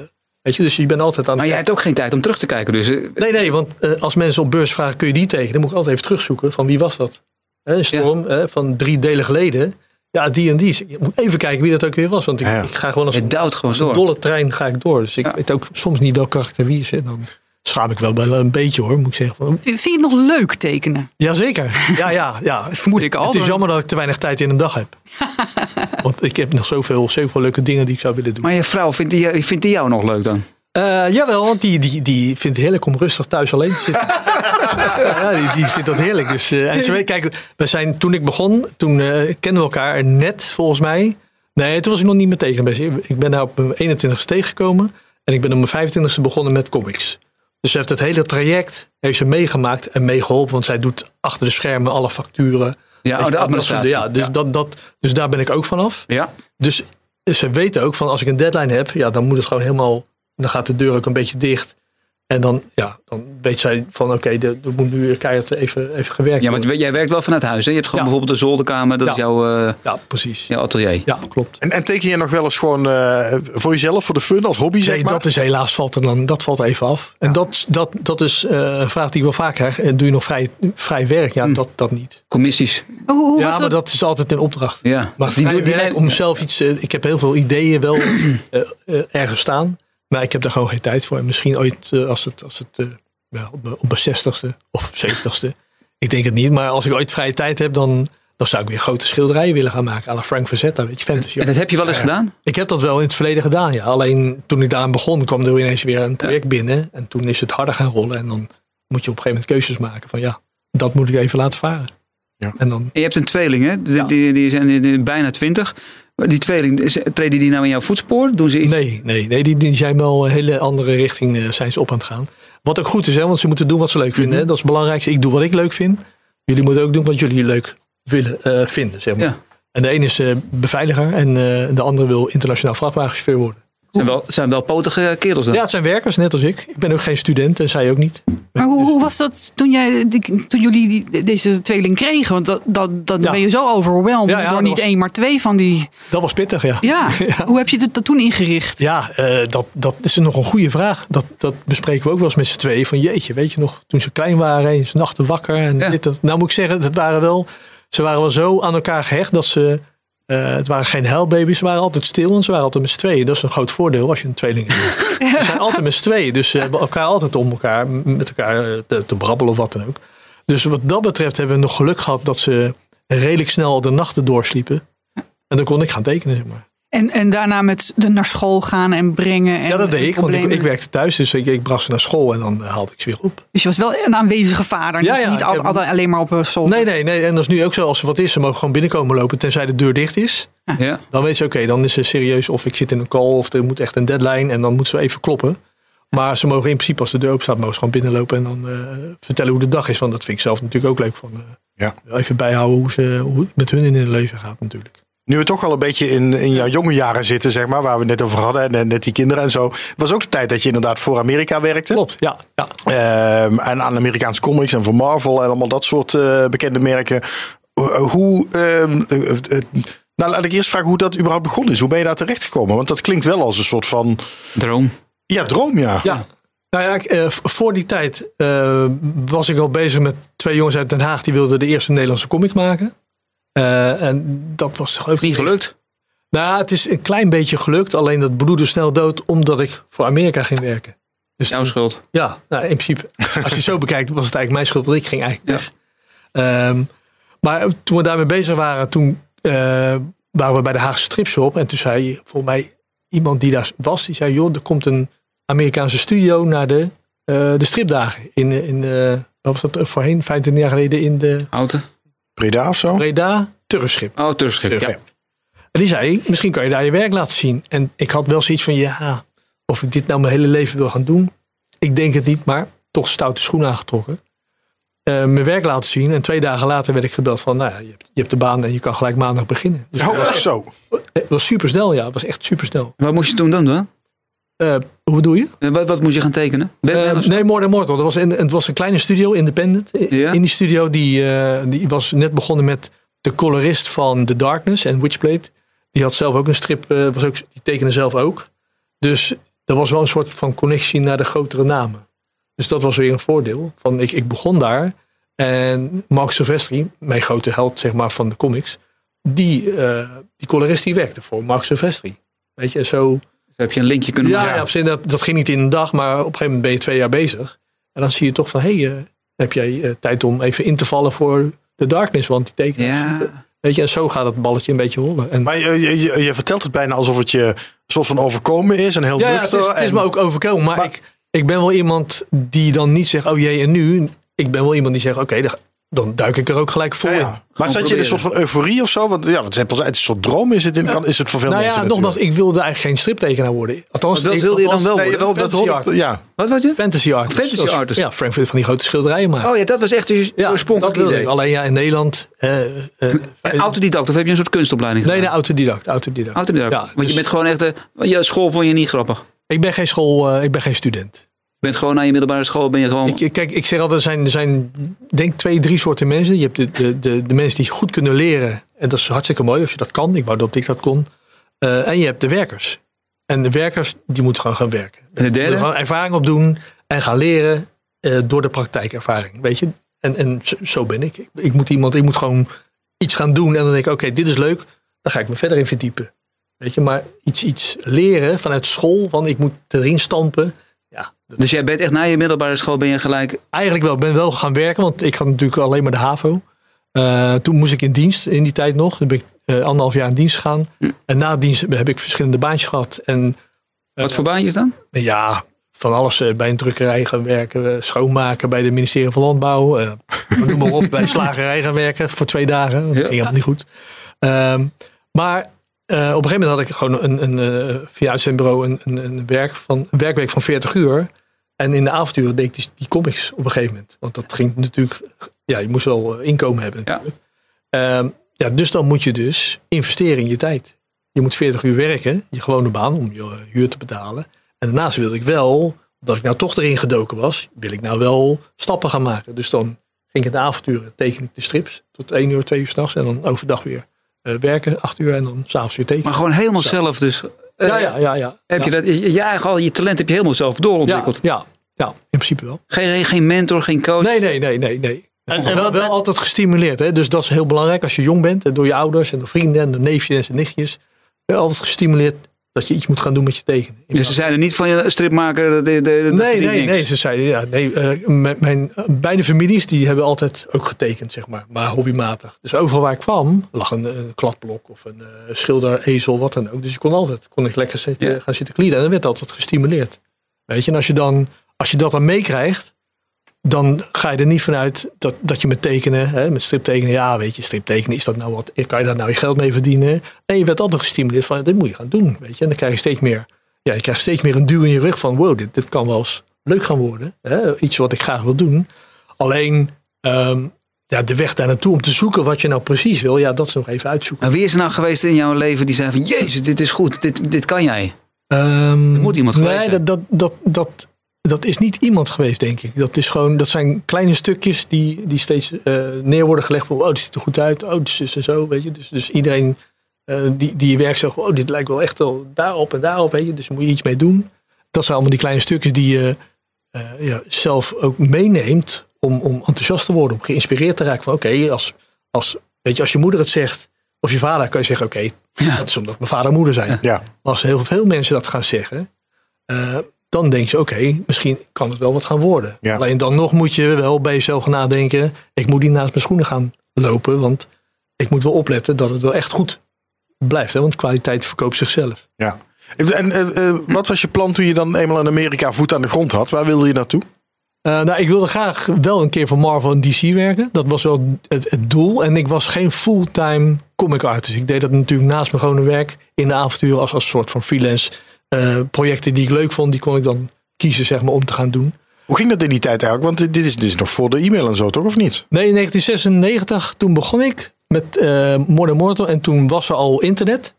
B: weet je, dus je bent altijd aan
C: Maar jij hebt ook geen tijd om terug te kijken. Dus eh,
B: Nee, nee, want eh, als mensen op beurs vragen, kun je die tegen? Dan moet ik altijd even terugzoeken van wie was dat? Hè, een storm hè, van drie delen geleden. Ja, die en die. Ik moet even kijken wie dat ook weer was. Want ik,
A: Ja.
B: ik ga gewoon als
C: het
B: een
C: duwt gewoon
B: een
C: door.
B: dolle trein ga ik door. Dus ik
C: Ja.
B: weet ook soms niet welk karakter wie is. En dan schaam ik wel wel een beetje hoor, moet ik zeggen. Van,
D: Vind vind je het nog leuk tekenen?
B: jazeker. Ja, ja,
D: (laughs)
B: ja.
D: Dat vermoed ik al.
B: Het is
D: maar-
B: jammer dat ik te weinig tijd in een dag
D: (laughs)
B: heb. Want ik heb nog zoveel, zoveel leuke dingen die ik zou willen doen.
C: Maar je vrouw, vindt die, eh, vindt die jou nog leuk dan?
B: Eh, jawel, want die, die, die vindt het heerlijk om rustig thuis alleen te zitten. ja, die, die vindt dat heerlijk. Dus, eh, en ze weet, kijk, we zijn, toen ik begon, toen eh, kenden we elkaar net volgens mij. Nee, toen was ik nog niet meer tegen. Ik ben daar op mijn 21ste tegengekomen. En ik ben op mijn 25ste begonnen met comics. Dus ze heeft het hele traject heeft ze meegemaakt en meegeholpen. Want zij doet achter de schermen alle facturen.
C: Ja,
B: Weet
C: oh,
B: je,
C: de
B: allemaal dat soort-
C: administratie.
B: Ja, dus, Dat, dat, dus daar ben ik ook vanaf.
C: Ja.
B: Dus ze weten ook van als ik een deadline heb, ja, dan moet het gewoon helemaal. Dan gaat de deur ook een beetje dicht. En dan, ja, dan weet zij van oké, er er moet nu keihard even, even gewerkt
C: Ja,
B: worden.
C: maar jij werkt wel vanuit huis. Hè? Je hebt gewoon
B: Ja.
C: bijvoorbeeld de zolderkamer. Dat
B: Ja.
C: is jouw, eh,
B: Ja, precies. Ja,
C: jouw atelier.
B: klopt.
A: En, en teken je nog wel eens gewoon eh, voor jezelf, voor de fun, als hobby zeg
B: Nee,
A: maar?
B: dat is helaas valt er dan, dat valt even af. En dat, dat, dat is eh, een vraag die ik wel vaak krijg. En doe je nog vrij, vrij werk? Ja, dat, dat niet.
C: Commissies.
D: Hoe, Hm. hoe
B: ja,
D: was
B: maar
D: dat?
B: dat is altijd een opdracht.
C: Ja.
B: Maar
C: Die
B: vrij
C: doe- die
B: werk
C: neem-
B: om zelf iets... eh, ik heb heel veel ideeën wel (clears throat) eh, eh, ergens staan. Maar ik heb daar gewoon geen tijd voor. En misschien ooit eh, als het, als het eh, ja, op, mijn- op mijn zestigste of zeventigste. ik denk het niet. Maar als ik ooit vrije tijd heb, dan, dan zou ik weer grote schilderijen willen gaan maken. À la Frank Verzetta, weet je, fantasy.
C: En dat heb je wel eens gedaan?
B: Ik heb dat wel in het verleden gedaan, ja. Alleen toen ik daaraan begon, kwam er ineens weer een project binnen. En toen is het harder gaan rollen. En dan moet je op een gegeven moment keuzes maken van ja, dat moet ik even laten varen.
A: Ja.
B: En dan,
C: En je hebt een tweeling, hè? Die, die, die zijn eh, bijna twintig. Die tweeling, is- treden die nou in jouw voetspoor? Doen ze iets?
B: nee, nee, nee die, die zijn wel een hele andere richting eh, zijn ze op aan het gaan. Wat ook goed is, hè, want ze moeten doen wat ze leuk vinden. hè. Dat is het belangrijkste. Ik doe wat ik leuk vind. Jullie moeten ook doen wat jullie leuk willen eh, vinden, zeg maar.
C: Ja.
B: En de ene is eh, beveiliger en eh, de andere wil internationaal vrachtwagenchauffeur worden.
C: Zijn wel, zijn wel potige kerels dan?
B: Ja, het zijn werkers, net als ik. Ik ben ook geen student en zij ook niet.
D: Maar hoe, hoe was dat toen, jij, die- toen jullie die- deze tweeling kregen? Want dat, dat, dan
B: Ja.
D: ben je zo overweldigd
B: Ja, ja,
D: door
B: dat
D: niet
B: was-
D: één, maar twee van die.
B: Dat was pittig, (laughs) ja.
D: Ja, hoe heb je dat, dat toen ingericht?
B: Ja, eh, dat, dat is nog een goede vraag. Dat, dat bespreken we ook wel eens met z'n tweeën. Van jeetje, weet je nog, toen ze klein waren en ze nachten wakker. En
C: Ja.
B: dit, dat. Nou moet ik zeggen, dat waren wel, ze waren wel zo aan elkaar gehecht dat ze... eh, het waren geen huilbaby's, ze waren altijd stil en ze waren altijd met z'n tweeën. Dat is een groot voordeel als je een tweeling hebt. Ze zijn altijd met z'n tweeën, dus ze hebben elkaar altijd om elkaar, m- met elkaar eh, te, te brabbelen of wat dan ook. Dus wat dat betreft hebben we nog geluk gehad dat ze redelijk snel de nachten doorsliepen. En dan kon ik gaan tekenen, zeg maar.
D: En, en daarna met de naar school gaan en brengen. En
B: Ja, dat deed ik, want ik,
D: problemen.
B: ik werkte thuis, dus ik, ik bracht ze naar school en dan eh, haalde ik ze weer op.
D: Dus je was wel een aanwezige vader.
B: Ja,
D: niet-
B: ja,
D: niet
B: ik
D: al-
B: heb-
D: altijd alleen maar op eh, school.
B: Nee, nee, nee. En dat is nu ook zo, als er wat is, ze mogen gewoon binnenkomen lopen, tenzij de deur dicht is.
C: Ja.
B: Dan weet ze, oké, dan is ze serieus of ik zit in een call of er moet echt een deadline en dan moet ze even kloppen. Maar ze mogen in principe, als de deur open staat, mogen ze gewoon binnenlopen en dan eh, vertellen hoe de dag is. Want dat vind ik zelf natuurlijk ook leuk. Van, eh, Even bijhouden hoe, ze, hoe het met hun in hun leven gaat natuurlijk.
A: Nu we toch al een beetje in, in jouw jonge jaren zitten, zeg maar, waar we het net over hadden, en, en net die kinderen en zo. Was ook de tijd dat je inderdaad voor Amerika werkte.
B: Klopt, ja. ja.
A: Ehm, en aan Amerikaanse comics en voor Marvel en allemaal dat soort eh, bekende merken. Ho- eh, Hoe. ehm, eh, eh, eh, nou, laat ik eerst vragen hoe dat überhaupt begonnen is. Hoe ben je daar terecht gekomen? Want dat klinkt wel als een soort van.
C: Droom.
A: Ja, droom, ja.
B: Ja. Nou ja, ik, eh, v- voor die tijd eh, was ik al bezig met twee jongens uit Den Haag. Die wilden de eerste Nederlandse comic maken. Eh, en dat was geloof ik
C: Niet gelukt.
B: Nou, het is een klein beetje gelukt. Alleen dat bloedde snel dood omdat ik voor Amerika ging werken. Dus
C: Jouw schuld.
B: ja, nou, in principe, als je het zo bekijkt, was het eigenlijk mijn schuld, want ik ging eigenlijk
C: Ja.
B: weg. Ehm, maar toen we daarmee bezig waren, toen eh, waren we bij de Haagse Stripshop. En toen zei volgens mij iemand die daar was, die zei, joh, er komt een Amerikaanse studio naar de, eh, de stripdagen. In, eh, in, eh, wat was dat voorheen, 25 jaar geleden, in de
C: Auto.
A: Breda of zo.
B: Breda Turfschip.
C: Oh, Turkschip.
B: Turf.
C: Ja.
B: En die zei, misschien kan je daar je werk laten zien. En ik had wel zoiets van, ja, of ik dit nou mijn hele leven wil gaan doen. Ik denk het niet, maar toch stoute schoen aangetrokken. Eh, mijn werk laten zien. En twee dagen later werd ik gebeld van, nou ja, je hebt, je hebt de baan en je kan gelijk maandag beginnen. Dus
A: Oh, zo.
B: het was super snel, ja. Het was echt super snel.
C: Wat moest je toen doen dan?
B: hoe bedoel je?
C: Eh, Wat, wat moest je gaan tekenen?
B: Eh,
C: Batman of zo?
B: nee, More Than Mortal. Dat was in, het was een kleine studio, independent. I-
C: Ja.
B: In die studio, die, eh, die was net begonnen met de colorist van The Darkness en Witchblade. Die had zelf ook een strip, eh, was ook, die tekende zelf ook. Dus er was wel een soort van connectie naar de grotere namen. Dus dat was weer een voordeel. Van, ik, ik begon daar en Mark Silvestri, mijn grote held zeg maar, van de comics, die, eh, die colorist die werkte voor Mark Silvestri. Weet je, en zo
C: Dus heb je een linkje kunnen
B: ja,
C: maken?
B: ja, op zich, dat, dat ging niet in een dag, maar op een gegeven moment ben je twee jaar bezig. En dan zie je toch van, hé, hey, eh, heb jij eh, tijd om even in te vallen voor de darkness, want die tekenen.
C: Ja.
B: Weet je, en zo gaat het balletje een beetje rollen. En,
A: Maar eh, je, je- je, je vertelt het bijna alsof het je een soort van overkomen is. En heel
B: ja, ja, het
A: nuchter.
B: is, het is
A: en-
B: me ook overkomen, maar,
A: Maar-
B: ik, ik ben wel iemand die dan niet zegt, oh jee, en nu? Ik ben wel iemand die zegt, oké, dan, dan duik ik er ook gelijk voor
A: Ja, ja.
B: in.
A: Maar zat je in een soort van euforie of zo? Want ja, wat het is een soort droom. Is het, in, kan, is het voor veel
B: Nou
A: mensen
B: ja, nogmaals, ik wilde eigenlijk geen striptekenaar worden. Althans,
C: Maar dat
B: ik-
C: wilde je dan
B: althans,
C: wel
A: natuurlijk.
C: worden?
A: Nee, dat, dat
B: Fantasy
A: hoor ik-
B: art.
A: Ja.
C: Wat was je?
B: Fantasy artist.
C: Fantasy
B: Zoals-
C: artist.
B: Ja, Frank van die grote schilderijen maken.
C: Oh ja, dat was echt je
B: Ja,
C: oorspronkelijk
B: dat wilde
C: idee.
B: ik. Alleen ja, in Nederland. eh, eh,
C: En autodidact, of heb je een soort kunstopleiding
B: nee, nee,
C: gedaan?
B: autodidact. autodidact.
C: Autodidact.
B: Ja,
C: Want
B: dus
C: je bent gewoon echt... eh, ja, school vond je niet grappig.
B: Ik ben geen school, eh, ik ben geen student.
C: bent gewoon naar je middelbare school, ben je gewoon...
B: Ik, kijk, ik zeg altijd, er zijn, er zijn denk twee, drie soorten mensen. Je hebt de, de, de, de mensen die goed kunnen leren. En dat is hartstikke mooi als je dat kan. Ik wou dat ik dat kon. Uh, en je hebt de werkers. En de werkers, die moeten gewoon gaan werken.
C: En de derde?
B: Gewoon ervaring opdoen en gaan leren uh, door de praktijkervaring. Weet je? En, en zo, zo ben ik. ik. ik. moet iemand, ik moet gewoon iets gaan doen. En dan denk ik, oké, okay, dit is leuk. Dan ga ik me verder in verdiepen. Weet je, maar iets, iets leren vanuit school, van ik moet erin stampen. Ja,
C: dus jij bent echt na je middelbare school ben je gelijk?
B: Eigenlijk wel. Ik ben wel gaan werken, want ik had natuurlijk alleen maar de HAVO. Uh, toen moest ik in dienst in die tijd nog. Dan ben ik uh, anderhalf jaar in dienst gegaan. Hm. En na dienst heb ik verschillende baantjes gehad. En, uh,
C: Wat voor baantjes dan?
B: Ja, van alles. eh, bij een drukkerij gaan werken, eh, schoonmaken bij het ministerie van Landbouw. eh, (laughs) noem maar op, bij een slagerij gaan werken voor twee dagen. Dat ging helemaal niet goed. Ehm, maar uh, op een gegeven moment had ik gewoon een, een, een via uitzendbureau een, een, een, werk van, een werkweek van 40 uur. En in de avonduren deed ik die, die, comics op een gegeven moment. Want dat ging natuurlijk, ja, je moest wel eh, inkomen hebben natuurlijk. Ja. Uh, ja, dus dan moet je dus investeren in je tijd. Je moet 40 uur werken, je gewone baan, om je eh, huur te betalen. En daarnaast wilde ik wel, omdat ik nou toch erin gedoken was, wil ik nou wel stappen gaan maken. Dus dan ging ik in de avonduren, teken ik de strips tot 1 uur, 2 uur s'nachts en dan overdag weer uh, werken, acht uur en dan s'avonds weer tekenen.
C: Maar gewoon helemaal Zo. zelf dus.
B: Uh, ja, ja, ja. ja,
C: Heb
B: ja.
C: Je, dat, je, eigen, al je talent heb je helemaal zelf doorontwikkeld.
B: Ja, ja, ja in principe wel.
C: Geen, geen mentor, geen coach?
B: Nee, nee, nee, nee. nee. En, en wel, wel altijd gestimuleerd. Hè? Dus dat is heel belangrijk als je jong bent. En door je ouders en door vrienden en door neefjes en door nichtjes. Altijd gestimuleerd dat je iets moet gaan doen met je tekenen.
C: Dus ze zeiden niet van je stripmaker. Dat, dat,
B: nee,
C: dat
B: nee, niks. nee. Ze zeiden ja, nee. Uh, mijn, mijn, beide families die hebben altijd ook getekend, zeg maar, maar hobbymatig. Dus overal waar ik kwam lag een, een kladblok of een uh, schilder, ezel, wat dan ook. Dus je kon altijd, kon ik lekker zitten, ja. gaan zitten klieden. En dan werd altijd gestimuleerd. Weet je, en als je dan, als je dat dan meekrijgt, dan ga je er niet vanuit dat, dat je met tekenen, hè, met striptekenen, ja, weet je, striptekenen, is dat nou wat, kan je daar nou je geld mee verdienen? Nee, je werd altijd gestimuleerd van, dit moet je gaan doen, weet je. En dan krijg je steeds meer, ja, je krijgt steeds meer een duw in je rug van, wow, dit, dit kan wel eens leuk gaan worden. Hè, iets wat ik graag wil doen. Alleen, um, ja, de weg daar naartoe om te zoeken wat je nou precies wil, ja, dat is nog even uitzoeken.
C: En wie is er nou geweest in jouw leven die zei van, jezus, dit is goed, dit, dit kan jij?
B: Um,
C: moet iemand geweest
B: Nee, dat, dat, dat, dat dat is niet iemand geweest, denk ik. Dat, is gewoon, dat zijn kleine stukjes die, die steeds uh, neer worden gelegd. Van, oh, dit ziet er goed uit. Oh, dus is en zo. Weet je? Dus, dus iedereen uh, die, die je werkt zegt, oh, dit lijkt wel echt wel daarop en daarop. Weet je? Dus moet je iets mee doen. Dat zijn allemaal die kleine stukjes die je uh, ja, zelf ook meeneemt om, om enthousiast te worden. Om geïnspireerd te raken. Van oké, okay, als, als, weet je, als je moeder het zegt of je vader, kan je zeggen, oké, okay, ja. dat is omdat mijn vader en moeder zijn.
A: Ja. ja.
B: als heel veel mensen dat gaan zeggen eh, dan denk je, oké, okay, misschien kan het wel wat gaan worden. Ja. Alleen dan nog moet je wel bij jezelf nadenken, ik moet niet naast mijn schoenen gaan lopen, want ik moet wel opletten dat het wel echt goed blijft. Hè? Want kwaliteit verkoopt zichzelf.
A: Ja. En uh, uh, wat was je plan toen je dan eenmaal in Amerika voet aan de grond had? Waar wilde je naartoe?
B: Uh, nou, ik wilde graag wel een keer voor Marvel en DC werken. Dat was wel het, het doel. En ik was geen fulltime comic artist. Ik deed dat natuurlijk naast mijn gewone werk in de avonturen als, als soort van freelance. Uh, projecten die ik leuk vond, die kon ik dan kiezen zeg maar, om te gaan doen.
A: Hoe ging dat in die tijd eigenlijk? Want dit is, dit is nog voor de e-mail en zo, toch? Of niet?
B: Nee, in 1996 toen begon ik met uh, Modern Mortal. En toen was er al internet.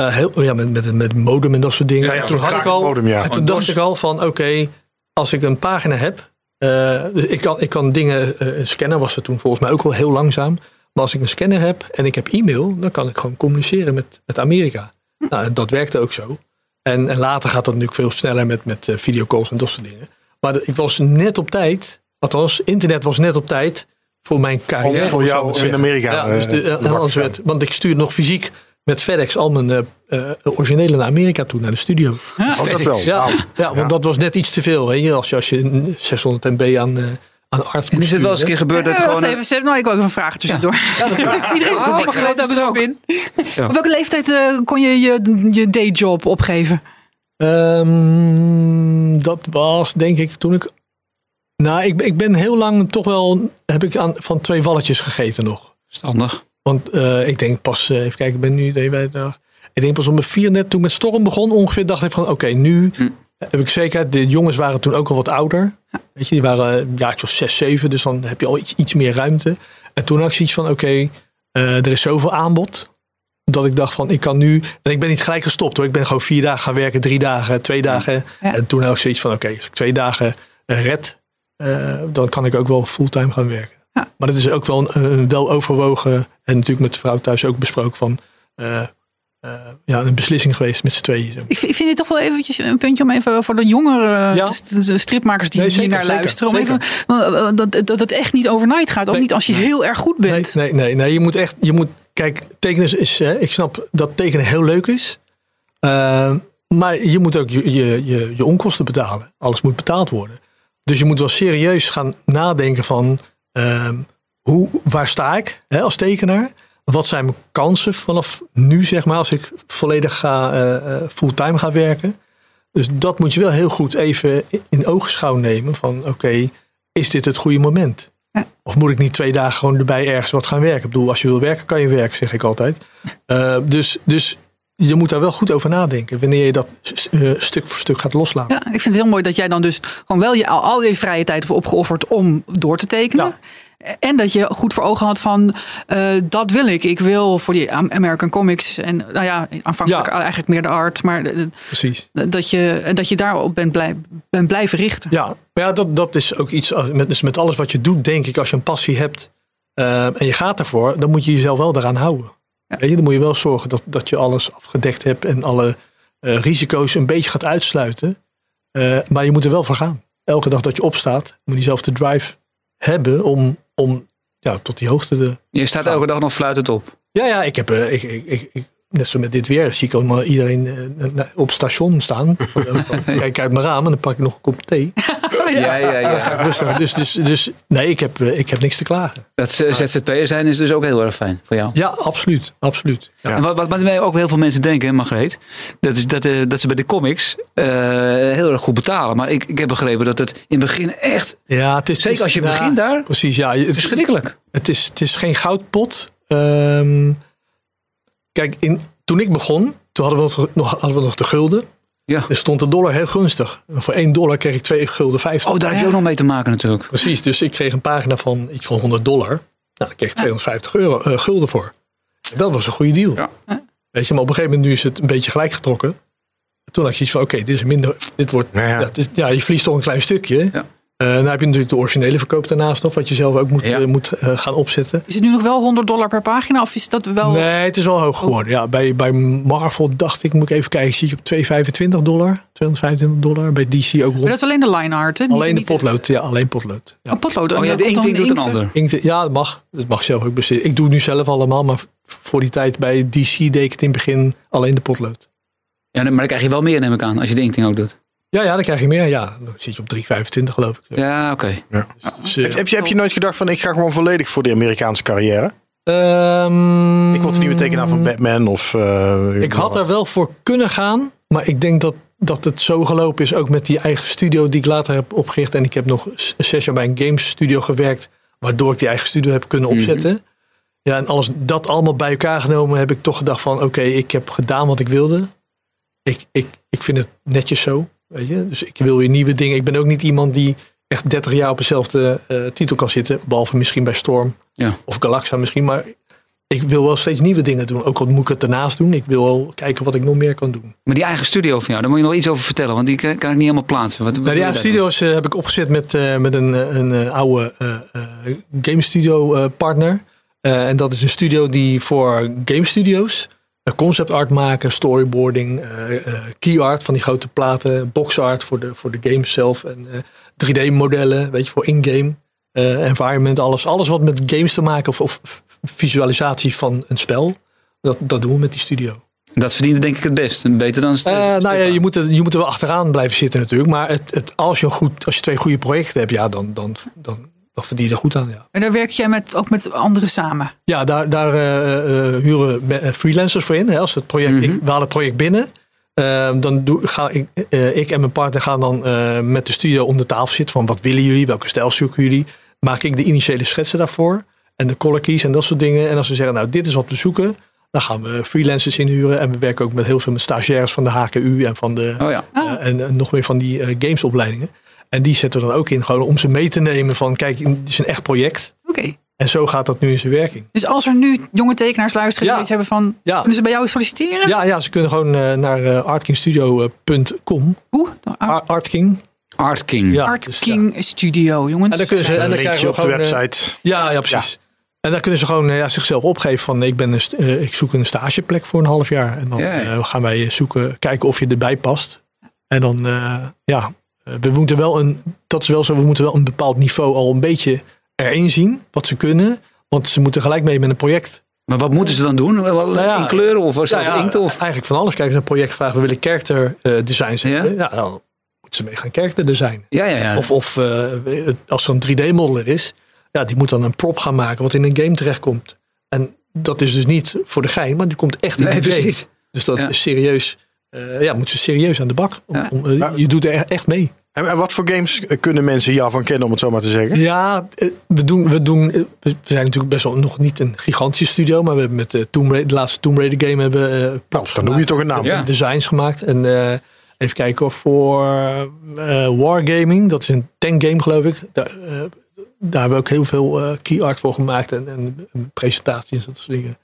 B: Uh, heel, ja, met, met, met modem en dat soort dingen.
A: Ja, ja,
B: toen
A: had ik al, modem, ja.
B: En toen dacht ik al van, oké, okay, als ik een pagina heb. dus ik kan, ik kan dingen, een scanner was er toen volgens mij ook wel heel langzaam. Maar als ik een scanner heb en ik heb e-mail, dan kan ik gewoon communiceren met, met Amerika. Nou, en dat werkte ook zo. En, en, later gaat dat natuurlijk veel sneller met, met uh, videocalls en dat soort dingen. Maar de, ik was net op tijd, althans, internet was net op tijd voor mijn carrière.
A: Voor jou in Amerika. eh, Ja,
B: dus de, uh, anders werd, want ik stuurde nog fysiek met FedEx al mijn uh, originele naar Amerika toe, naar de studio.
A: Ja, oh, dat wel.
B: Ja, ja, want ja. dat was net iets te veel. Hè? Als, je, als je 600 MB aan eh, aan arts
C: Is het wel eens een keer gebeurd dat
D: ja,
C: gewoon...
D: Even, ze hebben nou, ik ook een vraag tussendoor. Ja. Ja, (laughs) dat is iedereen oh, begrijpt ook zo in. Ja. Op welke leeftijd uh, kon je je, je dayjob opgeven?
B: Um, dat was denk ik toen ik... Nou, ik, ik ben heel lang toch wel... Heb ik aan, van twee walletjes gegeten nog.
C: Standig.
B: Want uh, ik denk pas... Uh, even kijken, ik ben nu... Ik denk pas om mijn vier net toen met Storm begon ongeveer dacht ik van oké, okay, nu... Hm heb ik zeker. De jongens waren toen ook al wat ouder. Ja. Weet je, die waren een jaartje of zes, zeven. Dus eh, dan heb je al iets, iets meer ruimte. En toen had ik zoiets van, oké, okay, uh, er is zoveel aanbod. dat ik dacht van ik kan nu. En ik ben niet gelijk gestopt hoor. Ik ben gewoon vier dagen gaan werken, drie dagen, twee dagen.
F: Ja.
B: En toen had ik zoiets van oké, als ik twee dagen eh, red, eh, dan kan ik ook wel fulltime gaan werken.
F: Ja.
B: Maar dat is ook wel een, een wel overwogen en natuurlijk met de vrouw thuis ook besproken van eh, eh, ja, een beslissing geweest met z'n tweeën. zo.
D: Ik vind, ik vind dit toch wel eventjes een puntje om even voor de jongere
B: Ja.
D: eh, st- st- stripmakers die
B: Nee,
D: hier
B: zeker,
D: naar
B: zeker,
D: luisteren.
B: zeker.
D: Om even, eh, eh, dat, dat het echt niet overnight gaat. Ook
B: Nee.
D: niet als je heel erg goed
B: Nee,
D: bent.
B: nee, nee, nee. Je moet echt, je moet, kijk, tekenen is, is, hè, ik snap dat tekenen heel leuk is. Ehm, maar je moet ook je, je, je, je onkosten betalen. Alles moet betaald worden. Dus je moet wel serieus gaan nadenken van, ehm, hoe, waar sta ik hè, als tekenaar? Wat zijn mijn kansen vanaf nu, zeg maar, als ik volledig ga, eh, eh, fulltime ga werken? Dus dat moet je wel heel goed even in- in oogschouw nemen van, oké, is dit het goede moment? Of moet ik niet twee dagen gewoon erbij ergens wat gaan werken? Ik bedoel, als je wil werken, kan je werken, zeg ik altijd. Eh, dus, dus je moet daar wel goed over nadenken wanneer je dat s- eh, stuk voor stuk gaat loslaten.
D: Ja, ik vind het heel mooi dat jij dan dus gewoon wel je, al, al je vrije tijd hebt opgeofferd om door te tekenen.
B: Ja.
D: En dat je goed voor ogen had van eh, dat wil ik. Ik wil voor die Am- American Comics en nou ja, aanvankelijk
B: Ja.
D: eigenlijk meer de art. Maar eh,
B: Precies.
D: dat je, dat je daarop bent, blij, bent blijven richten.
B: Ja, maar ja, dat, dat is ook iets. als- Met, dus met alles wat je doet, denk ik, als je een passie hebt eh, en je gaat ervoor, dan moet je jezelf wel daaraan houden. Weet je, dan moet je wel zorgen dat, dat je alles afgedekt hebt en alle eh, risico's een beetje gaat uitsluiten. Eh, maar je moet er wel voor gaan. Elke dag dat je opstaat, moet je zelf de drive hebben om, om ja, tot die hoogte te.
C: Je staat elke dag nog fluitend op.
B: Ja, ja, ik heb. eh, ik, ik, ik, ik- Net zo met dit weer zie ik allemaal iedereen eh, na- op station staan. Dan Kijk ik uit mijn raam en dan pak ik nog een kop thee.
C: Ja, ja, ja.
B: Ja, rustig. Dus, dus, dus nee, ik heb, eh, ik heb niks te klagen.
C: Dat ze- ZZP'er zijn is dus ook heel erg fijn voor jou.
B: Ja, absoluut. absoluut. Ja.
C: En wat, wat mij ook heel veel mensen denken, Margreet, dat is dat, eh, dat ze bij de comics eh, heel erg goed betalen. Maar ik, ik heb begrepen dat het in het begin echt,
B: Ja, het is, het
C: zeker
B: is-
C: als je
B: ja,
C: begint daar,
B: Precies, ja. je- Het,
C: verschrikkelijk.
B: het, is, het is geen goudpot. Ehm, kijk, in, toen ik begon, toen hadden we nog- nog, hadden we nog de gulden.
C: Ja.
B: Er stond de dollar heel gunstig. Voor 1 dollar kreeg ik 2 gulden 50.
C: Oh, daar heb je ook nog mee te maken natuurlijk.
B: Precies, dus ik kreeg een pagina van iets van 100 dollar. Nou, daar kreeg ik 250 euro, eh, gulden voor. Dat was een goede deal.
C: Ja.
B: Weet je, maar op een gegeven moment nu is het een beetje gelijk getrokken. Toen had ik zoiets van, oké, dit is minder, dit wordt,
A: Ja,
B: ja,
A: ja.
B: het is- ja, je verliest toch een klein stukje.
C: Ja.
B: Eh, dan heb je natuurlijk de originele verkoop daarnaast nog, wat je zelf ook moet,
C: Ja.
B: eh, moet eh, gaan opzetten.
D: Is het nu nog wel 100 dollar per pagina? Of is dat wel.
B: Nee, het is wel hoog geworden. Ja, bij, bij Marvel dacht ik, moet ik even kijken, zit je op 225 dollar, 225 dollar. Bij DC ook
D: Maar
B: rond.
D: dat is alleen de line art. Hè? Niet-
B: Alleen de
D: niet-
B: potlood, ja, alleen potlood. Ja.
D: Een potlood.
C: Oh
D: en
C: ja,
D: dan
C: de
D: komt dan
C: inkt doet een
D: inkt-
C: ander.
B: Inkt- ja, dat mag. Dat mag zelf ook beslissen. Ik doe het nu zelf allemaal, maar v- voor die tijd bij DC deed ik het in het begin alleen de potlood.
C: Ja, maar dan krijg je wel meer, neem ik aan, als je de inkting ook doet.
B: Ja, ja, dan krijg je meer. Ja, dan zit je op 3,25 geloof ik.
C: Ja, oké.
B: Dus, eh,
A: Heb, heb je, heb je nooit gedacht van ik ga gewoon volledig voor de Amerikaanse carrière?
B: ehm,
A: Ik word de nieuwe tekenaar van Batman of... eh,
B: Ik had er wel voor kunnen gaan, maar ik denk dat, dat het zo gelopen is. Ook met die eigen studio die ik later heb opgericht. En ik heb nog s- zes jaar bij een games studio gewerkt, waardoor ik die eigen studio heb kunnen opzetten. Ja, en alles dat allemaal bij elkaar genomen heb ik toch gedacht van oké, ik heb gedaan wat ik wilde. Ik, ik, ik vind het netjes zo. Weet je? Dus ik wil weer nieuwe dingen. Ik ben ook niet iemand die echt 30 jaar op dezelfde eh, titel kan zitten. Behalve misschien bij Storm
C: Ja.
B: of Galaxa misschien. Maar ik wil wel steeds nieuwe dingen doen. Ook al moet ik het daarnaast doen. Ik wil wel kijken wat ik nog meer kan doen.
C: Maar die eigen studio van jou, daar moet je nog iets over vertellen, want die kan, kan ik niet helemaal plaatsen. Wat, wat
B: Nou,
C: doe
B: die
C: je
B: eigen
C: daar dan?
B: studio's eh, heb ik opgezet met, eh, met een, eh, een eh, oude eh, eh, game studio eh, partner. Eh, en dat is een studio die voor game studios eh, concept art maken, storyboarding, eh, eh, key art van die grote platen, box art voor de, voor de games zelf en eh, 3D modellen, weet je, voor in-game eh, environment, alles. Alles wat met games te maken of, of visualisatie van een spel, dat, dat doen we met die studio.
C: Dat verdient denk ik het best. Beter dan een
B: Eh,
C: strip-
B: nou ja,
C: stripbaan.
B: je moet, er, je moet er wel achteraan blijven zitten natuurlijk. Maar het, het, als, je goed, als je twee goede projecten hebt, ja, dan, dan, dan, dan verdien je er goed aan. Ja,
D: En daar werk jij met, ook met anderen samen.
B: ja daar, daar eh, eh, huren we, eh, freelancers voor in. Hè. Als het project, ik, we halen het project binnen. eh, dan doe, ga ik, eh, ik en mijn partner gaan dan eh, met de studio om de tafel zitten. Van wat willen jullie? Welke stijl zoeken jullie? Maak ik de initiële schetsen daarvoor. En de color keys en dat soort dingen. En als ze zeggen, nou dit is wat we zoeken. Dan gaan we freelancers inhuren. En we werken ook met heel veel met stagiaires van de HKU en van de
C: Oh ja.
B: Eh, en, en nog meer van die eh, gamesopleidingen. En die zetten we dan ook in, gewoon om ze mee te nemen van, kijk, dit is een echt project.
D: Oké.
B: En zo gaat dat nu in zijn werking.
D: Dus als er nu jonge tekenaars luisteren die
B: Ja.
D: iets hebben van...
B: Ja.
D: kunnen ze bij jou solliciteren?
B: Ja, ja ze kunnen gewoon eh, naar eh, artkingstudio.com.
D: Hoe? Art,
B: Ar- Artking.
C: Art King.
B: Ja,
D: Art
B: Ah, dus daar-
D: King Studio, jongens.
B: En dan kunnen ze en
A: Een
B: dan
A: linkje
B: krijgen we
A: op de
B: gewoon, eh,
A: website.
B: Ja, ja precies. En dan kunnen ze gewoon eh, ja, zichzelf opgeven van ik, ben een st- eh, ik zoek een stageplek voor een half jaar. En dan
C: Ja.
B: eh, gaan wij zoeken, kijken of je erbij past. En dan, eh, ja, eh, we moeten wel een, dat is wel zo, we moeten wel een bepaald niveau al een beetje erin zien. Wat ze kunnen, want ze moeten gelijk mee met een project.
C: Maar wat moeten ze dan doen? Wel-
B: ja,
C: in kleuren of zelfs
B: Nou ja,
C: inkt? Of?
B: Eigenlijk van alles. Kijk, ze een project vragen, we willen character eh, designs
C: Ja.
B: hebben. Ja, dan moeten ze mee gaan character designen.
C: Ja, ja, ja.
B: Of, of eh, als er een 3D-modeler is, ja, die moet dan een prop gaan maken wat in een game terechtkomt. En dat is dus niet voor de gein, maar die komt echt in
C: nee,
B: de game.
C: precies.
B: Dus dat
C: Ja.
B: is serieus. eh, ja, moeten ze serieus aan de bak. Om-
C: Ja.
B: om, eh,
A: Maar-
B: je doet er echt mee.
A: En, en wat voor games eh, kunnen mensen hiervan kennen, om het zo maar te zeggen?
B: Ja, eh, we, doen, we, doen, eh, we zijn natuurlijk best wel nog niet een gigantische studio. Maar we hebben met de, Tomb Raider, de laatste Tomb Raider game hebben we, eh,
A: Nou, dan noem je toch een naam.
C: Ja.
B: designs gemaakt. En eh, even kijken of voor eh, Wargaming, dat is een tankgame geloof ik. Daar, eh, daar hebben we ook heel veel eh, key art voor gemaakt en, en, en presentaties en dat soort dingen.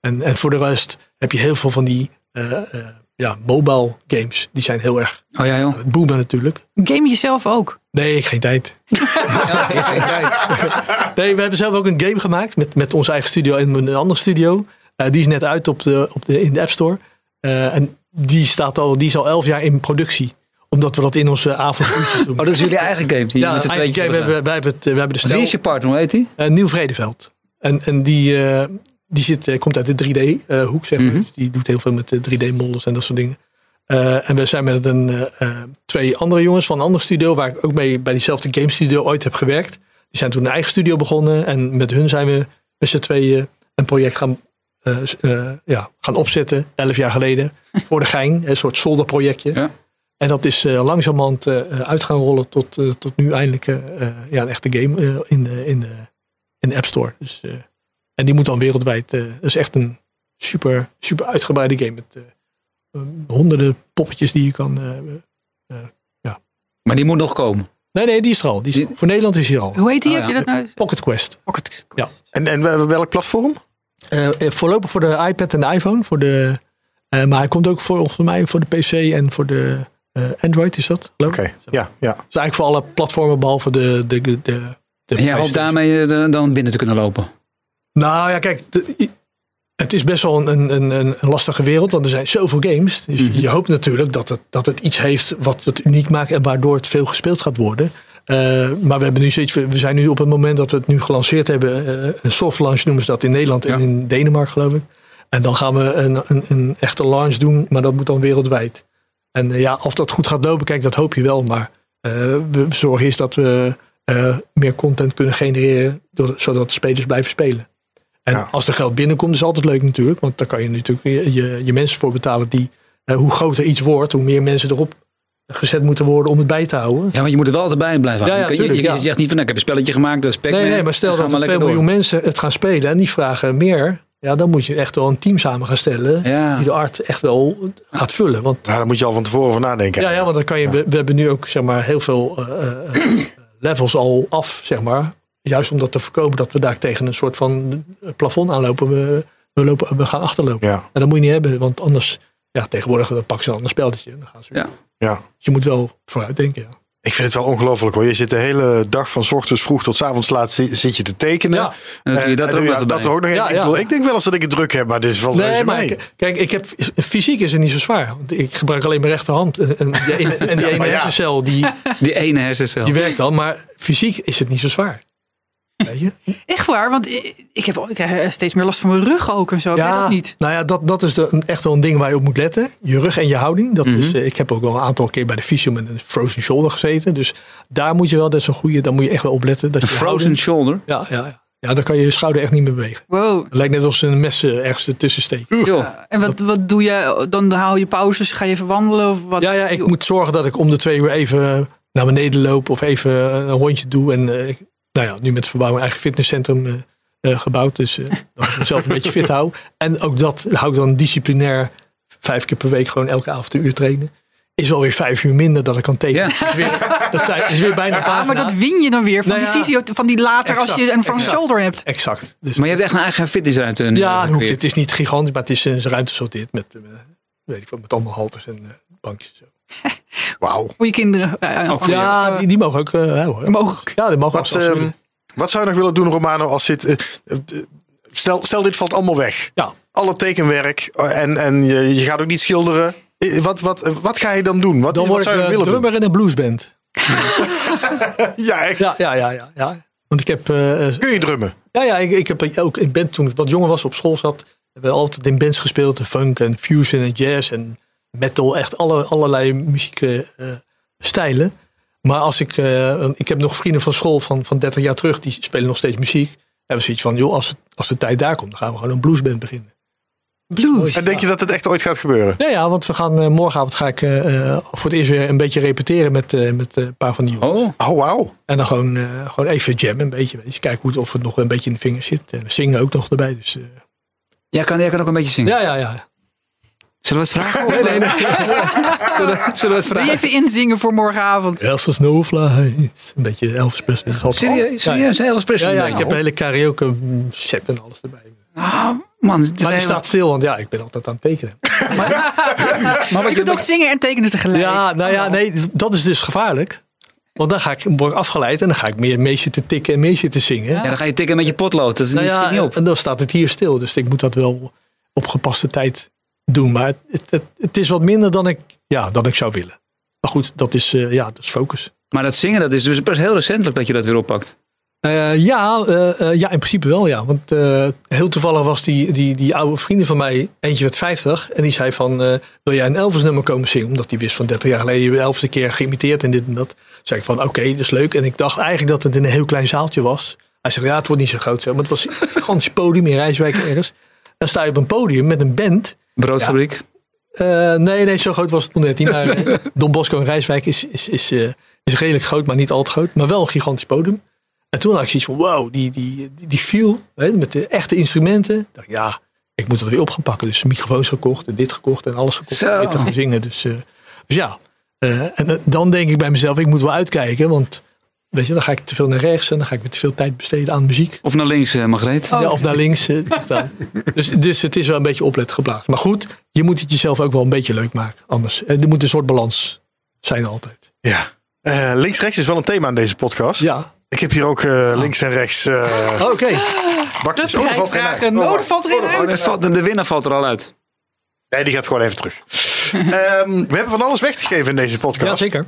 B: En, en voor de rest heb je heel veel van die eh, eh, ja, mobile games. Die zijn heel erg
C: Oh ja, (laughs) joh.
B: boomen natuurlijk.
D: Game jezelf ook.
B: Nee, geen tijd. Nee, we hebben zelf ook een game gemaakt met, met onze eigen studio en een andere studio. Eh, die is net uit op de, op de, in de App Store. Eh, en die, staat al, die is al elf jaar in productie. Omdat we dat in onze avond doen.
C: (laughs) Oh, dat is jullie eigen game. Die
B: ja,
C: met z'n
B: eigenlijk,
C: tweetjes
B: ja, we,
C: hebben
B: hebben, wij hebben, het, eh, we hebben de
C: gedaan. Wie
B: stijl
C: is je partner? Hoe heet die?
B: eh, Nieuw Vredeveld. En, en die, eh, die zit, eh, komt uit de 3D-hoek, zeg maar.
C: Mhm.
B: Dus die doet heel veel met de 3D-models en dat soort dingen. Eh, en we zijn met een, eh, eh, twee andere jongens van een ander studio, waar ik ook mee bij diezelfde game studio ooit heb gewerkt. Die zijn toen een eigen studio begonnen. En met hun zijn we met z'n tweeën een project gaan, eh, s- eh, ja, gaan opzetten, elf jaar
C: (laughs)
B: geleden. voor de gein, een soort zolderprojectje.
C: Ja.
B: En dat is eh langzamerhand eh, uit gaan rollen tot, eh, tot nu eindelijk eh, eh, ja, een echte game eh, in, de, in, de, in de App Store. Dus, eh, en die moet dan wereldwijd. eh, dat is echt een super, super uitgebreide game. Met eh, honderden poppetjes die je kan. eh,
C: Maar die moet nog komen.
B: nee, nee, die is er al. Die is,
C: Die-
B: Voor Nederland is die er al.
D: Hoe heet die?
C: Oh,
D: Heb je
C: ja.
D: dat nou?
B: Pocket Quest.
D: Pocket
B: Ja.
A: En, en wel- welk platform?
B: Eh, eh, voorlopig voor de iPad en de iPhone. Voor de, eh, maar hij komt ook voor, volgens mij voor de PC en voor de eh, Android, is dat? geloof ik?
A: Oké, ja, ja.
B: Dus eigenlijk voor alle platformen behalve de. de, de, de de
C: En jij hoopt
B: PlayStation.
C: daarmee eh, dan binnen te kunnen lopen.
B: Nou ja, kijk, de- het is best wel een, een, een, een lastige wereld, want er zijn zoveel games. Dus je hoopt natuurlijk dat het, dat het iets heeft wat het uniek maakt en waardoor het veel gespeeld gaat worden. Eh, maar we, hebben nu zoiets, we we zijn nu op het moment dat we het nu gelanceerd hebben, eh, een soft launch noemen ze dat in Nederland en
C: Ja.
B: in Denemarken geloof ik. En dan gaan we een, een, een echte launch doen, maar dat moet dan wereldwijd. En eh, ja, of dat goed gaat lopen, kijk, dat hoop je wel. Maar eh, we we zorgen eerst dat we eh, meer content kunnen genereren, door- zodat spelers blijven spelen. En
A: Ja.
B: als er geld binnenkomt, is altijd leuk natuurlijk. Want daar kan je natuurlijk je, je, je mensen voor betalen die, eh, hoe groter iets wordt, hoe meer mensen erop gezet moeten worden om het bij te houden.
C: Ja, want je moet er wel altijd bij blijven.
B: Ja, ja,
C: Je kan- je,
B: tuurlijk,
C: je
B: ja.
C: zegt niet van, nou, ik heb een spelletje gemaakt, dat is Pac-Man.
B: Nee, nee, maar stel
C: Ga
B: dat er 2
C: lekker
B: miljoen
C: door.
B: mensen het gaan spelen en die vragen meer. Ja, dan moet je echt wel een team samen gaan stellen
C: Ja.
B: die de art echt wel gaat vullen. Want
A: Nou, daar moet je al van tevoren over nadenken.
B: Ja, ja, want dan kan je, we, we hebben nu ook zeg maar, heel veel eh, eh, levels al af, zeg maar. Juist om dat te voorkomen dat we daar tegen een soort van plafond aanlopen. We, we, lopen, we gaan achterlopen.
A: Ja,
B: En dat moet je niet hebben, want anders, ja, tegenwoordig dan pakken ze een ander spelletje. en Dan gaan ze weer.
C: Ja.
A: ja.
B: Dus je moet wel vooruit denken. Ja.
A: Ik vind het wel ongelooflijk hoor. Je zit de hele dag van 's ochtends vroeg tot 's avonds laat zi- zit je te tekenen. Eh,
B: Ja.
C: En dan doe je dat
A: En-
C: er ook
A: en- ja,
C: nog even bij.
A: dat er ook nog
B: Ja,
A: een.
B: ja.
A: Ik, bedoel, ik denk wel eens dat ik het druk heb, maar dit is wel
B: Nee,
A: reuze
B: maar
A: mee.
B: ik- kijk, ik heb, fysiek is het niet zo zwaar. Want ik gebruik alleen mijn rechterhand. En, en, die ene- en die ene
A: maar (laughs) ja.
B: hersencel, die,
C: Die ene hersencel.
B: die werkt dan. Maar fysiek is het niet zo zwaar. Weet je?
D: Echt waar, want ik, ik heb al- ik krijg steeds meer last van mijn rug ook en zo. Ja. dat niet.
B: Nou ja, dat, dat is de- een- echt wel een ding waar je op moet letten. Je rug en je houding. Dat
A: Mhm.
B: is, eh, ik heb ook wel een aantal keer bij de fysio met een frozen shoulder gezeten. Dus daar moet je wel, dat is een goede, daar moet je echt wel op letten. Dat je
C: Frozen
B: houding-
C: shoulder.
B: ja, ja, ja. ja, dan kan je je schouder echt niet meer bewegen.
D: Wow.
B: Het lijkt net alsof ze een mes eh, ergens ertussen steekt.
C: Joh.
D: En wat, wat doe je? Dan haal je pauzes, ga je even wandelen of wat?
B: Ja,
D: Ah,
B: ja, ik moet zorgen dat ik om de twee uur even eh, naar beneden loop of even eh, een rondje doe. En eh, ik- nou ja, nu met de verbouwing eigen fitnesscentrum eh, eh, gebouwd. Dus eh, (laughs) dat ik mezelf een beetje fit hou. En ook dat hou ik dan disciplinair vijf keer per week gewoon elke avond een uur trainen. is wel weer vijf uur minder dat ik kan tekenen.
C: Ja.
B: Is weer, dat zijn, is weer bijna
D: Ja, maar
B: pagina.
D: dat win je dan weer van
B: Nou ja.
D: die visio, van die later als
B: Exact,
D: je een front
B: exact.
D: shoulder hebt.
B: Exact. Dus
C: Maar je hebt echt een eigen fitness uit een
B: ja, een hoekje.
C: gecreëerd.
B: Het is niet gigantisch, maar het is een ruimte sorteerd met, eh, weet ik wat, met allemaal halters en eh, bankjes. en Zo.
A: Wauw.
D: Voor je kinderen. Ja, ja, gewoon-
B: ja, die, die mogen ook. eh, ja, hoor.
D: Mogen ook.
B: Ja, die mogen
A: Wat,
B: ook.
A: ehm, wat zou je nog willen doen, Romano, als dit... eh, eh, stel, stel, dit valt allemaal weg.
B: ja.
A: Alle tekenwerk eh, en, en je, je gaat ook niet schilderen. Eh, Wat, wat, eh, wat ga je dan doen? Wat,
B: Dan
A: wat
B: word ik
A: zou je
B: eh,
A: willen
B: drummer in een bluesband.
A: doen? Ja, echt.
B: Ja, ja, ja, ja. ja. Want ik heb eh, eh,
A: Kun je drummen?
B: Ja, ja, ik, ik heb ook in band toen ik wat jonger was op school zat. Hebben we altijd in bands gespeeld. en Funk en fusion en jazz en metal. Echt alle, allerlei muziekstijlen. maar als ik, eh, want ik heb nog vrienden van school van, van 30 jaar terug. Die spelen nog steeds muziek. En we zoiets van, joh, als, het- als de tijd daar komt, dan gaan we gewoon een bluesband beginnen.
D: Blues.
A: En denk je dat het echt ooit gaat gebeuren?
B: Ja, ja, want we gaan eh, morgenavond ga ik eh, eh, voor het eerst weer een beetje repeteren met, eh, met eh, een paar van die jongens.
C: Oh,
A: Oh, wauw.
B: En dan gewoon, eh, gewoon even jammen een beetje. Weet je, kijken hoe het, of het nog een beetje in de vingers zit. En zingen ook nog erbij. Dus, eh,
C: jij kan, jij kan ook een beetje zingen.
B: ja, ja, ja.
C: Zullen we het vragen? Nee, nee, (laughs) zullen, zullen we het
D: Wil
C: vragen?
D: je even inzingen voor
B: (laughs)
D: morgenavond?
B: Elsa Snowflies. Een beetje Elvis Presley. Dat is altijd- Oh.
C: Serieus,
B: Ja, ja.
C: serieus, Nou, Elvis
B: Ja,
C: Presley.
B: ja, ik heb een hele karaoke mm, set en alles erbij.
C: Ah, man, het is
B: Maar die
C: heel-
B: staat stil, want ja, ik ben altijd aan het tekenen.
C: maar wat
D: Je
C: je,
D: kunt ook zingen en tekenen tegelijk.
B: Ja, nou ja, nee, dat is dus gevaarlijk. Want dan ga ik, word ik afgeleid en dan ga ik meer mee zitten tikken en mee zitten zingen.
C: ja, dan ga je tikken met je potlood. Dat is
B: nou
C: Dus schiet niet
B: ja,
C: op.
B: en dan staat het hier stil. Dus ik moet dat wel op gepaste tijd doen. Maar het, het, het, het is wat minder dan ik, ja, dan ik zou willen. Maar goed, dat is, eh, ja, dat is focus.
C: Maar dat zingen, dat is dus pas heel recentelijk dat je dat weer oppakt.
B: Eh, ja, eh, eh, ja, in principe wel, ja. Want eh, heel toevallig was die, die, die oude vrienden van mij, eentje werd 50, en die zei van, eh, wil jij een Elvis nummer komen zingen? Omdat die wist van 30 jaar geleden, je hebt Elvis een keer geïmiteerd en dit en dat. zei ik van, oké, dat is leuk. En ik dacht eigenlijk dat het in een heel klein zaaltje was. Hij zegt, ja, het wordt niet zo groot, zo. maar het was (laughs) een gigantisch podium in Rijswijk ergens. Dan sta je op een podium met een band.
C: Broodfabriek.
B: Eh, nee, nee, zo groot was het nog net niet. Maar eh, Don Bosco in Rijswijk is, is, is, eh, is redelijk groot, maar niet al te groot. Maar wel een gigantisch podium. En toen had ik zoiets van, wow, die, die, die, die feel hè, met de echte instrumenten. Ik dacht, ja, ik moet dat weer op gaan pakken. Dus microfoons gekocht en dit gekocht en alles gekocht.
C: Zo.
B: En dit te gaan zingen. Dus, eh, dus ja, Eh, en eh, dan denk ik bij mezelf, ik moet wel uitkijken. Want weet je, dan ga ik te veel naar rechts en dan ga ik weer te veel tijd besteden aan muziek.
C: Of naar links, eh, Margreet.
B: Ja, of naar links. eh, (laughs) ligt aan. dus, dus het is wel een beetje oplet geblazen. Maar goed, je moet het jezelf ook wel een beetje leuk maken. Anders, eh, er moet een soort balans zijn altijd.
A: Ja. Eh, Links-rechts is wel een thema in deze podcast.
B: Ja, Ah.
A: Ik heb hier ook eh, links en rechts
B: (laughs)
A: eh
B: oké.
A: bakjes. Oh, er valt geen uit.
D: Prijsvragen. Oh, dat valt erin
C: Oh,
D: uit.
C: dat valt- de winnaar valt er al uit.
A: Nee, die gaat gewoon even terug. (laughs) Ehm, we hebben van alles weggegeven in deze podcast.
B: Ja, zeker.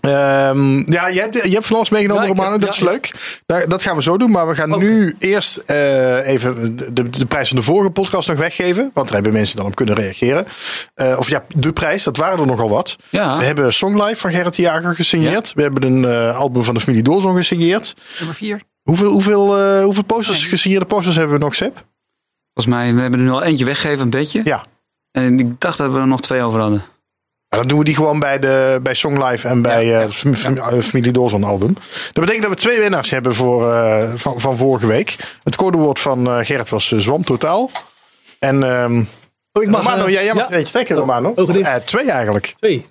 A: Ehm, ja, je hebt, je hebt van alles meegenomen,
B: Ja, Nou, ik heb-
A: Romano. Dat is
B: ja, ja.
A: leuk. Daar- dat gaan we zo doen. Maar we gaan nu eerst eh, even de, de prijs van de vorige podcast nog weggeven. Want daar hebben mensen dan op kunnen reageren. Eh, of ja, de prijs. Dat waren er nogal wat.
C: Ja.
A: We hebben Songlife van Gerrit de Jager gesigneerd. We hebben een eh, album van de familie Doorzon gesigneerd.
D: Nummer vier.
A: Hoeveel, hoeveel, eh, hoeveel posters, gesigneerde posters hebben we nog, Seb?
C: Volgens mij, we hebben er nu al eentje weggegeven, een bedje.
A: Ja.
C: En ik dacht dat we er nog twee over hadden.
A: Maar dan doen we die gewoon bij, de, bij Songlife en bij eh het fam- fam- eh, Familie Dawson album. Dat betekent dat we twee winnaars hebben voor, eh, van, van vorige week. Het codewoord van eh, Gerrit was eh, Zwam Totaal. En ehm
B: Oh, ik mag,
A: Romano,
B: eh,
A: jij, jij mag
B: ja,
A: er eentje trekken, Romano.
B: oh, gedicht.
A: Eh, twee eigenlijk.
B: Twee.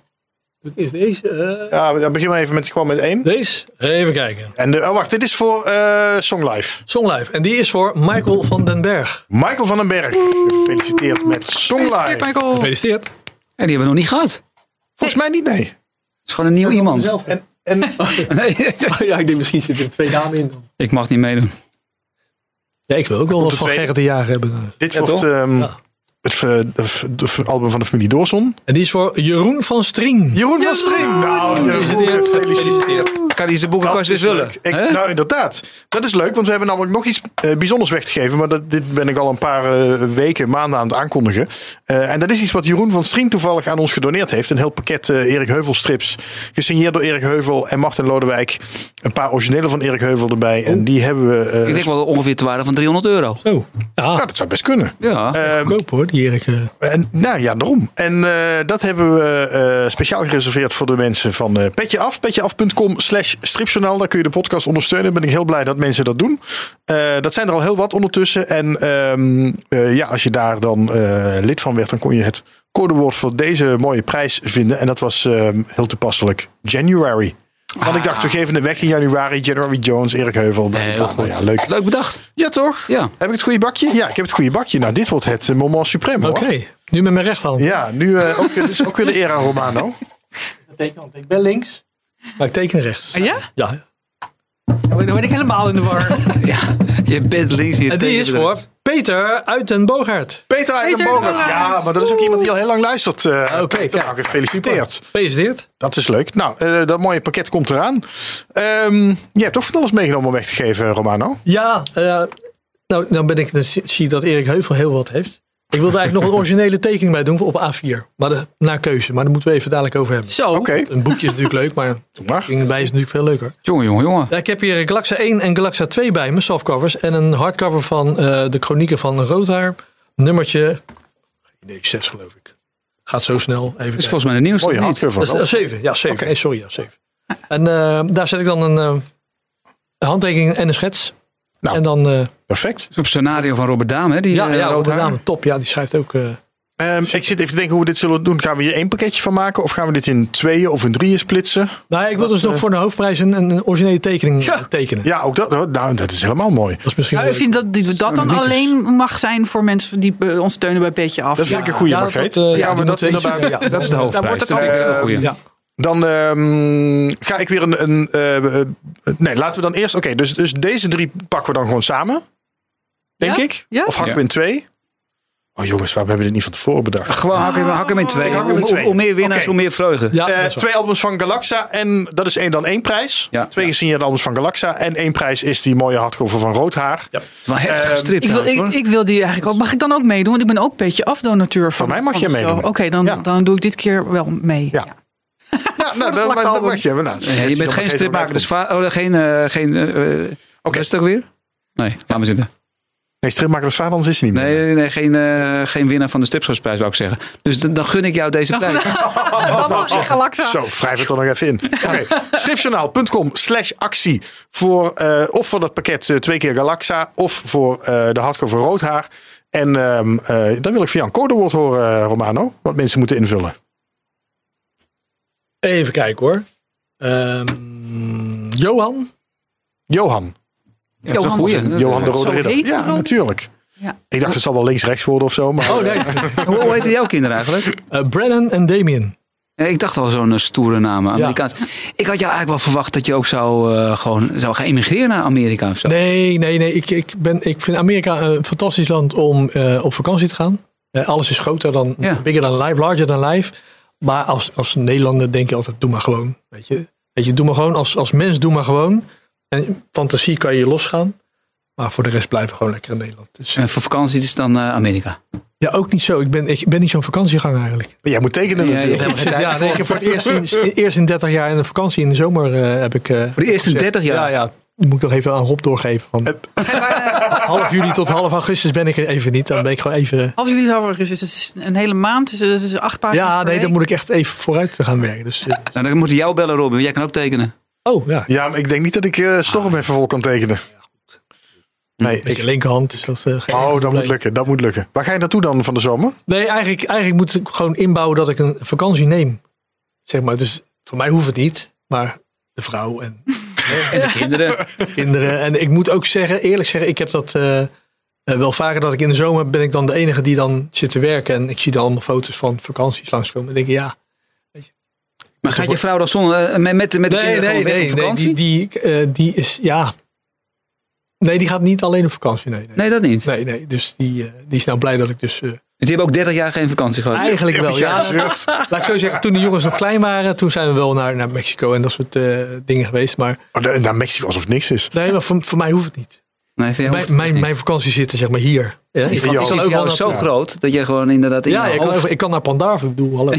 B: Doe ik Eerst deze. eh,
A: Ja, we- dan beginnen we even met, gewoon met één.
B: deze. Even kijken.
A: En de, oh, wacht, dit is voor eh Songlife.
B: Songlife. En die is voor Michael van den Berg.
A: Michael van den Berg, gefeliciteerd met
D: Kijk,
A: Songlife.
D: Michael.
B: Gefeliciteerd.
C: En die hebben we nog niet gehad. Het
A: Volgens mij niet, nee.
C: is gewoon een nieuw iemand.
B: Dezelfde.
A: En,
C: (laughs) Nee,
B: ja, ik denk misschien zitten er twee dames in dan.
C: ik mag niet meedoen.
B: Ja, ik wil ook wel wat
A: de
B: van
A: tweede.
B: Gerrit de Jager hebben.
A: dit
C: Ja,
A: wordt
C: toch?
A: ehm,
B: Ja.
A: het ver- de ver- de album van de familie Dawson.
B: En die is voor Jeroen van Strien.
A: Jeroen van Streem. Nou, Jeroen,
B: Gefeliciteerd.
A: gefeliciteerd.
C: Kan die zijn boekenkast weer zullen?
A: Ik, nou, inderdaad. Dat is leuk, want we hebben namelijk nog iets eh, bijzonders weggegeven. Maar dat, dit ben ik al een paar eh, weken, maanden aan het aankondigen. Eh, en dat is iets wat Jeroen van Strien toevallig aan ons gedoneerd heeft. Een heel pakket eh, Erik Heuvel strips. Gesigneerd door Erik Heuvel en Martin Lodewijk. Een paar originele van Erik Heuvel erbij. En die hebben we... eh,
C: Ik denk wel ongeveer te waarde van 300 euro. Eh,
B: Zo. Oh, Ja,
A: nou, dat zou best kunnen.
C: Ja.
A: Ehm,
B: goedkoop hoor, die Erik. eh.
A: en, nou ja, daarom. En eh, dat hebben we eh, speciaal gereserveerd voor de mensen van eh Petje Af. Petjeaf.com slash stripjournaal. Daar kun je de podcast ondersteunen. Ben ik heel blij dat mensen dat doen. Eh, dat zijn er al heel wat ondertussen. En ehm, eh, ja, als je daar dan eh, lid van werd, dan kon je het codewoord voor deze mooie prijs vinden. En dat was ehm, heel toepasselijk. January. Want ik dacht, we geven het weg in januari. January Jones, Erik Heuvel. bla, bla,
C: Ah. Heel
A: bla.
C: goed.
A: Ja, leuk.
C: Leuk bedacht.
A: Ja, toch?
C: Ja.
A: Heb ik het goede bakje? Ja, ik heb het goede bakje. Nou, dit wordt het eh, moment supreme hoor.
B: Oké, nu met mijn rechterhand.
A: Ja, nu eh, ook, dit is ook weer de era Romano.
B: Ik ben links. Maar ik teken rechts.
D: Ah, ja?
B: Ja.
D: Dan ben ik helemaal in de
A: (laughs)
D: war.
C: Je bent links in je
B: En die is voor Peter uit den Boogaard.
A: Peter uit de
D: Peter
A: Bogart.
D: Bogart.
A: Ja, maar dat is ook iemand die al heel lang luistert. eh
B: Oké,
A: Peter.
B: kijk.
A: Nou, gefeliciteerd.
B: Gefeliciteerd.
A: Dat is leuk. Nou, eh, dat mooie pakket komt eraan. Ehm je hebt toch van alles meegenomen om weg te geven, Romano?
B: Ja, eh, nou dan ben ik, dan zie zie ik dat Erik Heuvel heel wat heeft. Ik wilde eigenlijk nog een originele tekening bij doen voor op A4. Maar de, naar keuze. Maar daar moeten we even dadelijk over hebben.
D: Zo.
A: Oké,
B: Een boekje is natuurlijk leuk, maar
A: doe maar.
B: een bij is natuurlijk veel leuker.
C: Jongen, jongen, jongen.
B: Ja, ik heb hier Galaxa 1 en Galaxa 2 bij me, softcovers. En een hardcover van eh, de chronieken van Roodhaar. Nummertje nee, 6 geloof ik. Gaat zo snel. Even
C: Dat is
B: kijken.
C: volgens mij de nieuwste.
A: Mooie
C: of niet?
A: hardcover.
B: Dat is,
A: wel.
B: eh, zeven, ja, zeven.
A: Oké.
B: Nee, sorry, ja, zeven. En eh, daar zet ik dan een eh, een handtekening en een schets.
A: Nou.
B: En dan, eh,
A: Perfect.
C: Zo'n scenario van Robert Dame, hè? Die,
B: ja,
C: eh,
B: ja
C: rood haar.
B: Rotterdam, top. Ja, die schrijft ook. eh,
A: Ehm, ik zit even te denken hoe we dit zullen doen. Gaan we hier één pakketje van maken? Of gaan we dit in tweeën of in drieën splitsen?
B: nou, ja, ik wil dus nog voor de hoofdprijs een, een originele tekening eh, tekenen.
A: eh, Ja, ook dat. Nou, dat is helemaal mooi.
B: Dat is misschien.
D: Ja,
B: wel
D: Nou, ik vind dat dat, dat dan
C: Sodemieters.
D: alleen mag zijn voor mensen die eh, ons steunen bij Petje Af.
A: Dat vind
D: Ja.
A: ik een goede,
B: Ja,
A: Margreet.
B: eh,
A: ja,
B: die
A: maar dat
B: moet deze-
A: inderdaad...
B: ja,
C: Dat is de
B: dan-
C: hoofdprijs.
D: wordt het
C: Dat
D: ook-
C: vind ik een hele goeie.
B: Ja.
A: Dan ehm, ga ik weer een. een eh, eh, nee, laten we dan eerst. Oké, dus, dus deze drie pakken we dan gewoon samen. Denk
D: Ja?
A: ik?
D: Ja?
A: Of hakken
C: Ja.
A: we in twee? Oh jongens, waarom hebben we dit niet van tevoren bedacht?
C: Gewoon hak hem, hak hem in twee.
A: Ik hak hem in
C: Hoe-
A: twee.
C: Hoe meer winnaars,
A: Oké.
C: hoe meer vreugde.
B: Ja,
A: Eh,
B: dat is wel.
A: twee albums van Galaxa en dat is één dan één prijs.
C: Ja.
A: Twee gesigneerde albums van Galaxa en één prijs is die mooie hardcover van Roodhaar.
C: Wel heftig
A: Ehm,
C: gestript
D: Ik wil,
C: trouwens,
D: ik,
C: hoor.
D: ik wil die eigenlijk ook. Mag ik dan ook meedoen? Want ik ben ook Petje Af-donateur van.
A: Van mij mag
D: van
A: je
D: de show.
A: meedoen.
D: Oké, dan,
A: Ja.
D: dan doe ik dit keer wel mee.
A: Ja. Nou, nou, dat,
D: vlakke
A: maar- dat
D: album.
A: mag je hebben. Nou, dat is-
C: Ja,
A: dat
C: je
A: zie
C: bent
A: dan
C: geen
A: nog even
C: stripmaker,
A: hoe het
C: dus va- oh, geen... eh, geen eh, eh, Wat is het ook weer? Nee, laat maar zitten.
A: uitkomt. Nee, stripmaker is vader, anders is hij niet meer.
C: Nee, nee, nee, geen, eh, geen winnaar van de stripschapsprijs, wou ik zeggen. Dus dan, dan gun ik jou deze (laughs) prijs.
D: Dan mag ik Galaxa.
A: (laughs) Zo, wrijf het er nog even in. Oké, Stripjournaal.com slash actie. Voor, eh, of voor dat pakket eh, twee keer Galaxa. Of voor eh, de hardcover Roodhaar. En ehm, eh, dan wil ik via een codewoord horen, eh, Romano. Wat mensen moeten invullen.
B: Even kijken hoor. Ehm, Johan.
A: Johan.
C: Ja, dat is een
D: Johan-
C: goeie. Dat-
A: Johan de
C: eh,
A: Rode
D: zo
A: Ridder.
D: heet ze
A: Ja,
D: dan?
A: natuurlijk.
D: Ja.
A: Ik dacht, het zal wel links-rechts worden of zo. Maar
B: Oh nee,
C: Hoe hoe heten jouw kinderen eigenlijk?
B: eh, Brennan en Damien.
C: Ja, Ik dacht al zo'n eh, stoere naam, Amerikaans. Ik had jou eigenlijk wel verwacht dat je ook zou, eh, gewoon, zou gaan emigreren naar Amerika of zo.
B: Nee, nee, nee. Ik, ik, ben, ik vind Amerika een fantastisch land om eh, op vakantie te gaan. Eh, alles is groter dan,
C: Ja.
B: bigger than life, larger than life. Maar als, als Nederlander denk je altijd, doe maar gewoon. Weet je, weet je doe maar gewoon. Als, als mens, doe maar gewoon. En fantasie kan je losgaan. Maar voor de rest blijven we gewoon lekker in Nederland. Dus,
C: En voor vakantie is dan eh, Amerika.
B: ja, ook niet zo. Ik ben, ik ben niet zo'n vakantiegang eigenlijk.
A: eh, jij moet tekenen
C: Ja,
A: natuurlijk.
C: ja,
B: (laughs) Ik zit,
C: tijd
B: ja,
C: ervoor.
B: nee, ik heb voor het eerst in, eerst in 30 jaar in de vakantie in de zomer eh, heb ik... eh,
C: Voor de eerste 30 jaar.
B: Ja, ja. Die moet ik nog even aan Rob doorgeven. Van (laughs) half juli tot half augustus ben ik er even niet. Dan ben ik gewoon even...
D: Half juli overigens is het een hele maand. Dus het is acht pagina's
B: Ja,
D: per
B: nee,
D: week.
B: dan moet ik echt even vooruit te gaan werken. Dus, eh,
C: Nou, dan moeten jou bellen, Robin. Jij kan ook tekenen.
B: oh, ja.
A: Ja, maar ik denk niet dat ik eh Storm even vol kan tekenen. Nee,
B: Met je
A: ik,
B: linkerhand is dat eh, geen enkel
A: oh, dat
B: probleem.
A: moet lukken. Dat moet lukken. Waar ga je naartoe dan van de zomer?
B: Nee, eigenlijk, eigenlijk moet ik gewoon inbouwen dat ik een vakantie neem. Zeg maar, dus voor mij hoeft het niet. Maar de vrouw en
C: En de (laughs) kinderen.
B: kinderen. En ik moet ook zeggen, eerlijk zeggen, ik heb dat eh, eh, wel vaker dat ik in de zomer ben ik dan de enige die dan zit te werken. En ik zie dan allemaal foto's van vakanties langskomen. En denk ik, ja.
C: Maar gaat je vrouw dan zonder, eh, met, met, met de kinderen gewoon weg op vakantie?
B: die,
C: Nee,
B: die, eh, die is, ja. Nee, die gaat niet alleen op vakantie. Nee, nee.
C: dat niet.
B: Nee, nee, dus die, eh, die is nou blij dat ik dus eh,
C: Dus die hebben ook 30 jaar geen vakantie gehad.
B: eigenlijk wel. Ja,
D: (laughs)
A: gezeurd.
B: (laughs) laat ik zo zeggen, toen de jongens nog klein waren, toen zijn we wel naar, naar Mexico en dat soort eh, dingen geweest. Maar
A: Oh, de- naar Mexico alsof het niks is.
B: nee, maar voor, voor mij hoeft het niet.
C: Nee, voor jou hoeft
B: Mijn,
C: het
B: mijn,
C: niet.
B: mijn vakantie zit er, zeg maar hier. Ja, ik,
A: jou-
B: kan
A: ik
C: Die
A: zie
B: overal
C: jou is
B: naartoe.
C: zo groot dat je gewoon inderdaad in
B: Ja,
C: je
B: ik kan,
C: hoofd...
B: (laughs) over- ik kan naar Pandarven, ik bedoel, hallo.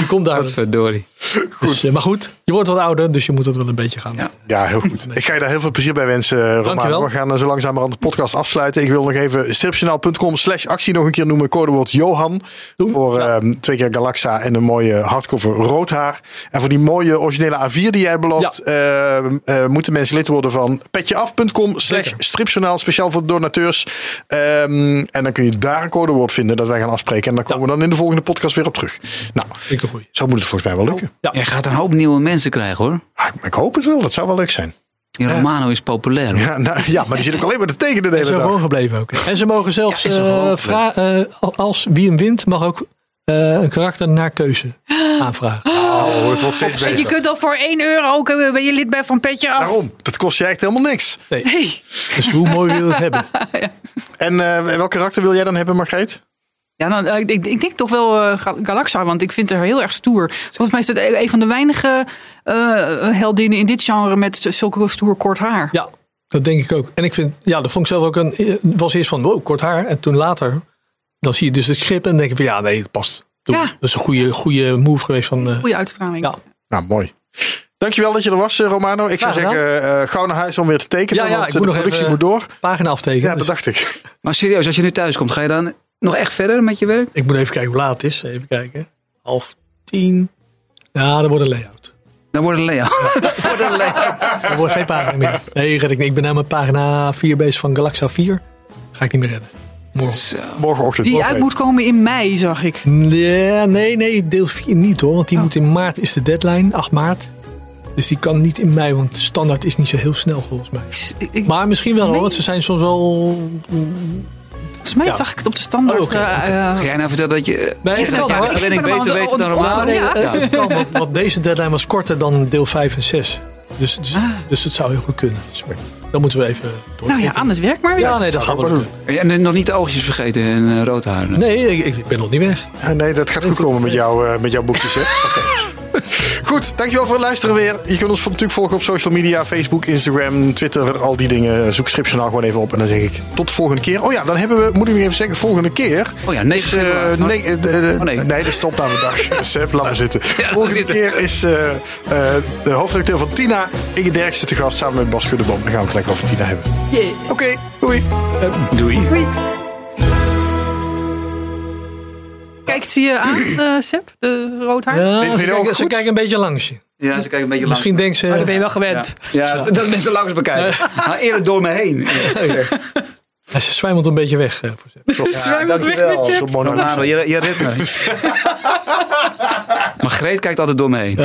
B: Die komt daar.
C: Godverdorie.
B: Goed. Dus, maar goed, je wordt wat ouder, dus je moet dat wel een beetje gaan.
A: Ja, ja heel goed. Ik ga je daar heel veel plezier bij wensen, eh, Roman. We gaan zo langzamerhand de podcast afsluiten. Ik wil nog even stripjournaal.com slash actie nog een keer noemen. Codewoord Johan. Doe. Voor ja. uh, twee keer Galaxa en een mooie hardcover rood haar. En voor die mooie originele A4 die jij belooft, ja. uh, uh, moeten mensen lid worden van petjeaf.com slash stripjournaal. Speciaal voor donateurs. Um, en dan kun je daar een codewoord vinden dat wij gaan afspreken. En dan komen we dan in de volgende podcast weer op terug. Nou, zo moet het volgens mij wel lukken.
C: Ja. Je gaat een hoop nieuwe mensen krijgen hoor.
A: Ah, ik hoop het wel, dat zou wel leuk zijn.
C: Die Romano is populair.
A: Ja, nou, ja, maar die zit ook alleen maar te tekenen de hele
B: en
A: dag.
B: gewoon gebleven ook. En ze mogen zelfs, ja, uh, uh, als wie hem wint, mag ook uh, een karakter naar keuze aanvragen.
A: Oh, het wordt steeds beter.
D: En je kunt al voor 1 euro ook eh, ben je lid bij Van Petje af.
A: Daarom, dat kost je echt helemaal niks.
B: Nee. nee. Dus hoe mooi wil je het hebben?
A: ja. En welk karakter wil jij dan hebben, Margreet?
D: Ja, dan, ik, ik, denk toch wel uh, Galaxa, want ik vind haar heel erg stoer. Volgens mij is dat een van de weinige uh, heldinnen in dit genre met zulke stoer kort haar.
B: Ja, dat denk ik ook. En ik vind, ja, dat vond ik zelf ook een. eh, was eerst van wow, kort haar. En toen later, dan zie je dus het grip en dan denk je van ja, nee, dat past. Doe. Ja. Dat is een goede, goede move geweest van. Uh,
D: goede uitstraling.
A: Ja. Nou, mooi. Dankjewel dat je er was, eh, Romano. Ik zou ja, zeggen, uh, gauw naar huis om weer te tekenen. Ja, ja, want eh, de nog productie moet door.
B: Pagina aftekenen. Dus
A: Ja, dus- dat dacht ik. (laughs)
C: Maar serieus, als je nu thuis komt, ga je dan nog echt verder met je werk?
B: Ik moet even kijken hoe laat het is. Even kijken. Half tien. Ja, dan wordt een layout.
C: Dan wordt een layout. dan wordt een layout.
B: Dan wordt geen pagina meer. Nee, red ik niet. Ik ben nou met pagina 4 bezig van Galaxa 4. Ga ik niet meer redden. Morgen. Zo.
A: Morgenochtend.
D: Die uit moet komen in mei, zag ik.
B: Nee, Mm, nee, nee deel 4 niet hoor. Want die oh. moet in maart, is de deadline. 8 maart. Dus die kan niet in mei, want de standaard is niet zo heel snel volgens mij. Ik, maar misschien wel hoor, want ze zijn soms wel
D: Volgens mij ja. zag ik het op de standaard. Oh, okay, okay. Uh,
C: (laughs) Ga jij nou vertellen dat je...
B: Nee, dat
C: kan
B: hoor.
C: Alleen ik beter weten dan
B: Ah,
C: normaal.
B: eh, want, deze deadline was korter dan deel 5 en 6. Dus, dus, ah. dus het zou heel goed kunnen. Dus, dan moeten we even
D: door. Nou ja, anders werk maar weer.
B: (laughs) Ja, nee, dat, dat gaan we doen. doen.
C: En nog niet de oogjes vergeten en uh, rood haar.
B: Nee, ik, ik, ben nog niet weg.
A: Ah, nee, dat gaat goed komen met, jou, uh, met jouw boekjes. (laughs) Hè? Okay. Goed, dankjewel voor het luisteren weer. Je kunt ons natuurlijk volgen op social media. Facebook, Instagram, Twitter, al die dingen. Zoek Scriptionaal gewoon even op. En dan zeg ik tot de volgende keer. Oh ja, dan hebben we, moet ik nog even zeggen, volgende keer.
C: Oh ja, 9
A: is, uh, nee, uh, uh, oh, nee. nee, de stopnamedag. (laughs) Sepp, laat maar zitten. Ja, volgende keer is eh, de hoofdredacteur van Tina, Inge Derksen te gast samen met Bas Kuddeboom. Dan gaan we het lekker over Tina hebben.
D: Yeah.
A: Oké, okay, doei.
C: doei.
D: Doei. Kijkt ze je aan, uh, Seb? De rood (laughs) haar?
B: Ja, ze, kijken, ze kijken een beetje langs je.
C: Ja, ze kijken een beetje langs.
B: Misschien denkt ze...
D: Maar oh, dan ben je wel gewend.
C: Ja, ja, ja. dat mensen langs bekijken. nou, eerder door me
B: (laughs)
C: heen.
B: Ja, ze zwijmelt een beetje weg. Uh, voor
D: Seb. Ze zwijmelt Dus weg met Seb.
C: Romano, je, je
B: (laughs)
C: rit me. maar Greet kijkt altijd door me heen.